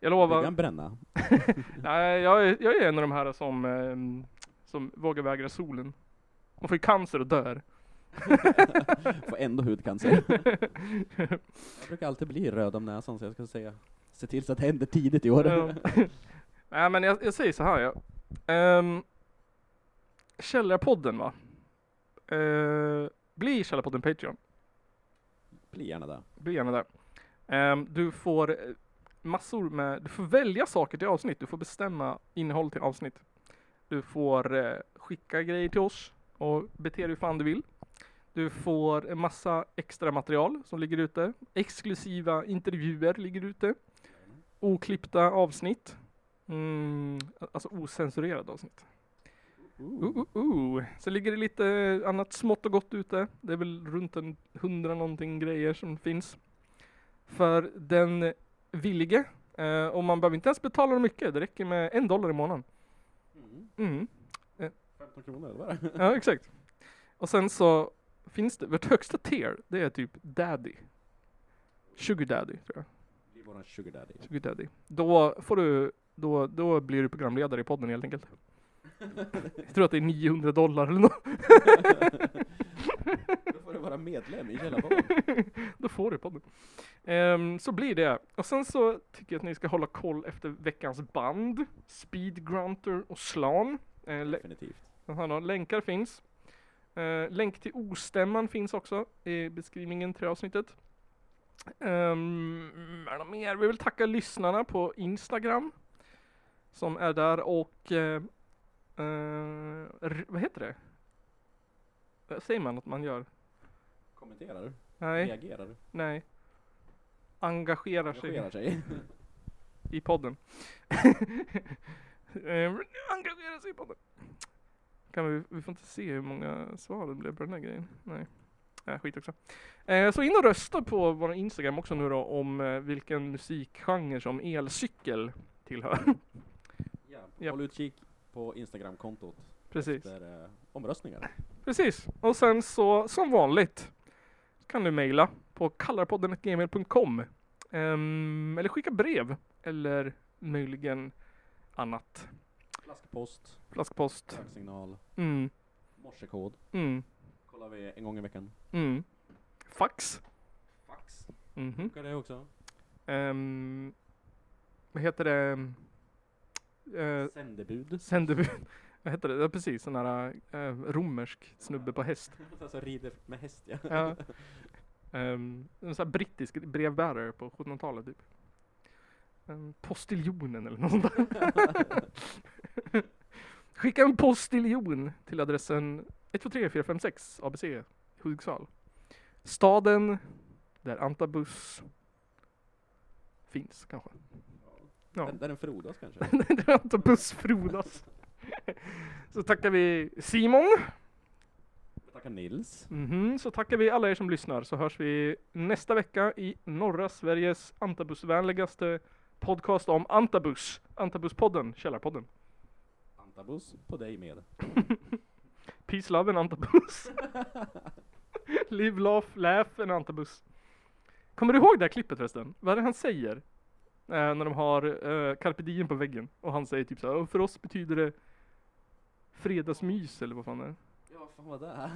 Jag
Du
lovar...
kan bränna.
Nej, jag, är- jag är en av de här som, ehm, som vågar vägra solen. Hon får ju cancer och dör.
Får ändå hudcancer. jag brukar alltid bli röd om näsan, så jag ska säga se till så att det händer tidigt i år.
Ja. Nej men jag, jag säger så här ja. Um, Källarpodden va? Eh, bli Källarpodden Patreon.
Bli gärna det.
Bli gärna där. Ehm, du får eh, massor med, du får välja saker till avsnitt. Du får bestämma innehåll till avsnitt. Du får eh, skicka grejer till oss och bete dig hur fan du vill. Du får en massa extra material som ligger ute. Exklusiva intervjuer ligger ute. Oklippta avsnitt. Mm, alltså osensurerade avsnitt. Uh, uh, uh. Sen ligger det lite annat smått och gott ute. Det är väl runt en hundra någonting grejer som finns. För den villige. Eh, och man behöver inte ens betala dem mycket. Det räcker med en dollar i månaden. Mm.
15 kronor, eller vad är det?
Ja, exakt. Och sen så finns det, vårt högsta tier, det är typ daddy. Sugar daddy, tror jag.
Bli våran sugar daddy.
Sugar daddy. Då får du, då, då blir du programledare i podden helt enkelt. Jag tror att det är 900 dollar eller något.
Då får du vara medlem i Källarpodden.
Då får du podden. Ehm, så blir det. Och sen så tycker jag att ni ska hålla koll efter veckans band, Speed Grunter och Slan. Eh, lä-
Definitivt.
Jaha då, länkar finns. Eh, länk till ostämman finns också i beskrivningen till avsnittet. Um, är det mer? Vi vill tacka lyssnarna på Instagram som är där och eh, eh, r- vad heter det? Vad säger man att man gör?
Kommenterar du?
Nej,
Reagerar du?
nej. Engagerar sig.
Engagerar sig?
i podden. Eh, Engagera sig i podden. Kan vi, vi får inte se hur många svar det blev på den här grejen. Nej, äh, skit också. Eh, så in och rösta på vår Instagram också nu då om eh, vilken musikgenre som elcykel tillhör.
Ja.
Ja.
Håll utkik på Instagram-kontot
Precis.
efter eh, omröstningar.
Precis. Och sen så, som vanligt, kan du mejla på kallarpodden.gmail.com. Ehm, eller skicka brev. Eller möjligen annat.
Flaskpost,
Flaskpost.
signal,
Mm,
morsekod.
mm.
Kollar vi en gång i veckan.
Mm. Fax.
Fax.
Mhm.
Funkar det också?
Ehm, vad heter det? Uh,
Sändebud.
sändebud. Vad heter det? Ja, precis, sån här eh, romersk snubbe på häst.
Alltså rider med häst ja.
Ja. Ehm, en sån här brittisk brevbärare på 1700-talet typ. Ehm, postiljonen eller något sånt där. Skicka en postiljon till adressen 123456 ABC Hudiksvall. Staden där Antabus finns kanske. Ja.
Där, där den frodas kanske.
där Antabus frodas. Så tackar vi Simon.
Jag tackar Nils.
Mhm, så tackar vi alla er som lyssnar så hörs vi nästa vecka i norra Sveriges antabusvänligaste podcast om antabus. Antabuspodden, Källarpodden.
Antabus på dig med.
Peace, love and antabus. Live, laugh, laugh and antabus. Kommer du ihåg det här klippet förresten? Vad är det han säger? Eh, när de har eh, carpe diem på väggen och han säger typ så här, "Och för oss betyder det fredagsmys eller vad fan det är.
Ja, vad fan var det?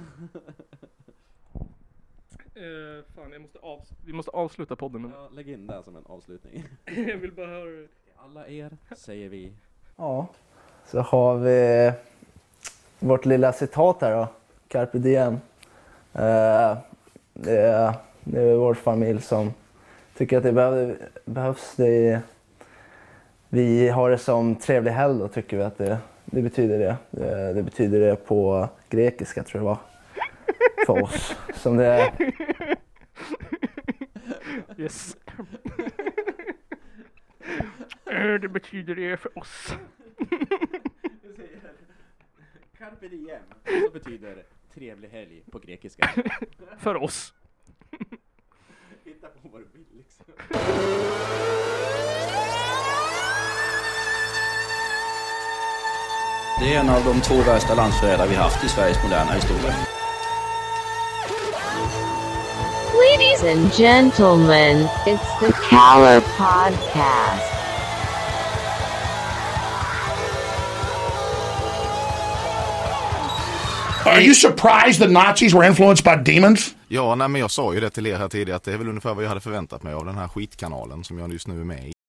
Eh, fan, jag måste avs- vi måste avsluta podden nu.
Jag lägger in det här som en avslutning.
jag vill bara höra det.
Till alla er säger vi
Ja, så har vi eh, vårt lilla citat här då. Carpe diem. Eh, Det är, det är vår familj som tycker att det behöv, behövs. Det är, vi har det som trevlig helg då, tycker vi att det, det betyder det. Eh, Det betyder det på grekiska tror jag det var. fas som det är.
Yes. Eh, det betyder det för oss.
Carpe diem, som betyder trevlig helg på grekiska.
För oss.
Hitta på vad du vill liksom.
Det är en av de två värsta landsförrädare vi haft i Sveriges moderna historia.
Ladies and gentlemen, it's the Caller Podcast.
Are you surprised the Nazis were influenced by demons?
Ja, nej, men jag sa ju det till er här tidigare att det är väl ungefär vad jag hade förväntat mig av den här skitkanalen som jag just nu är med i.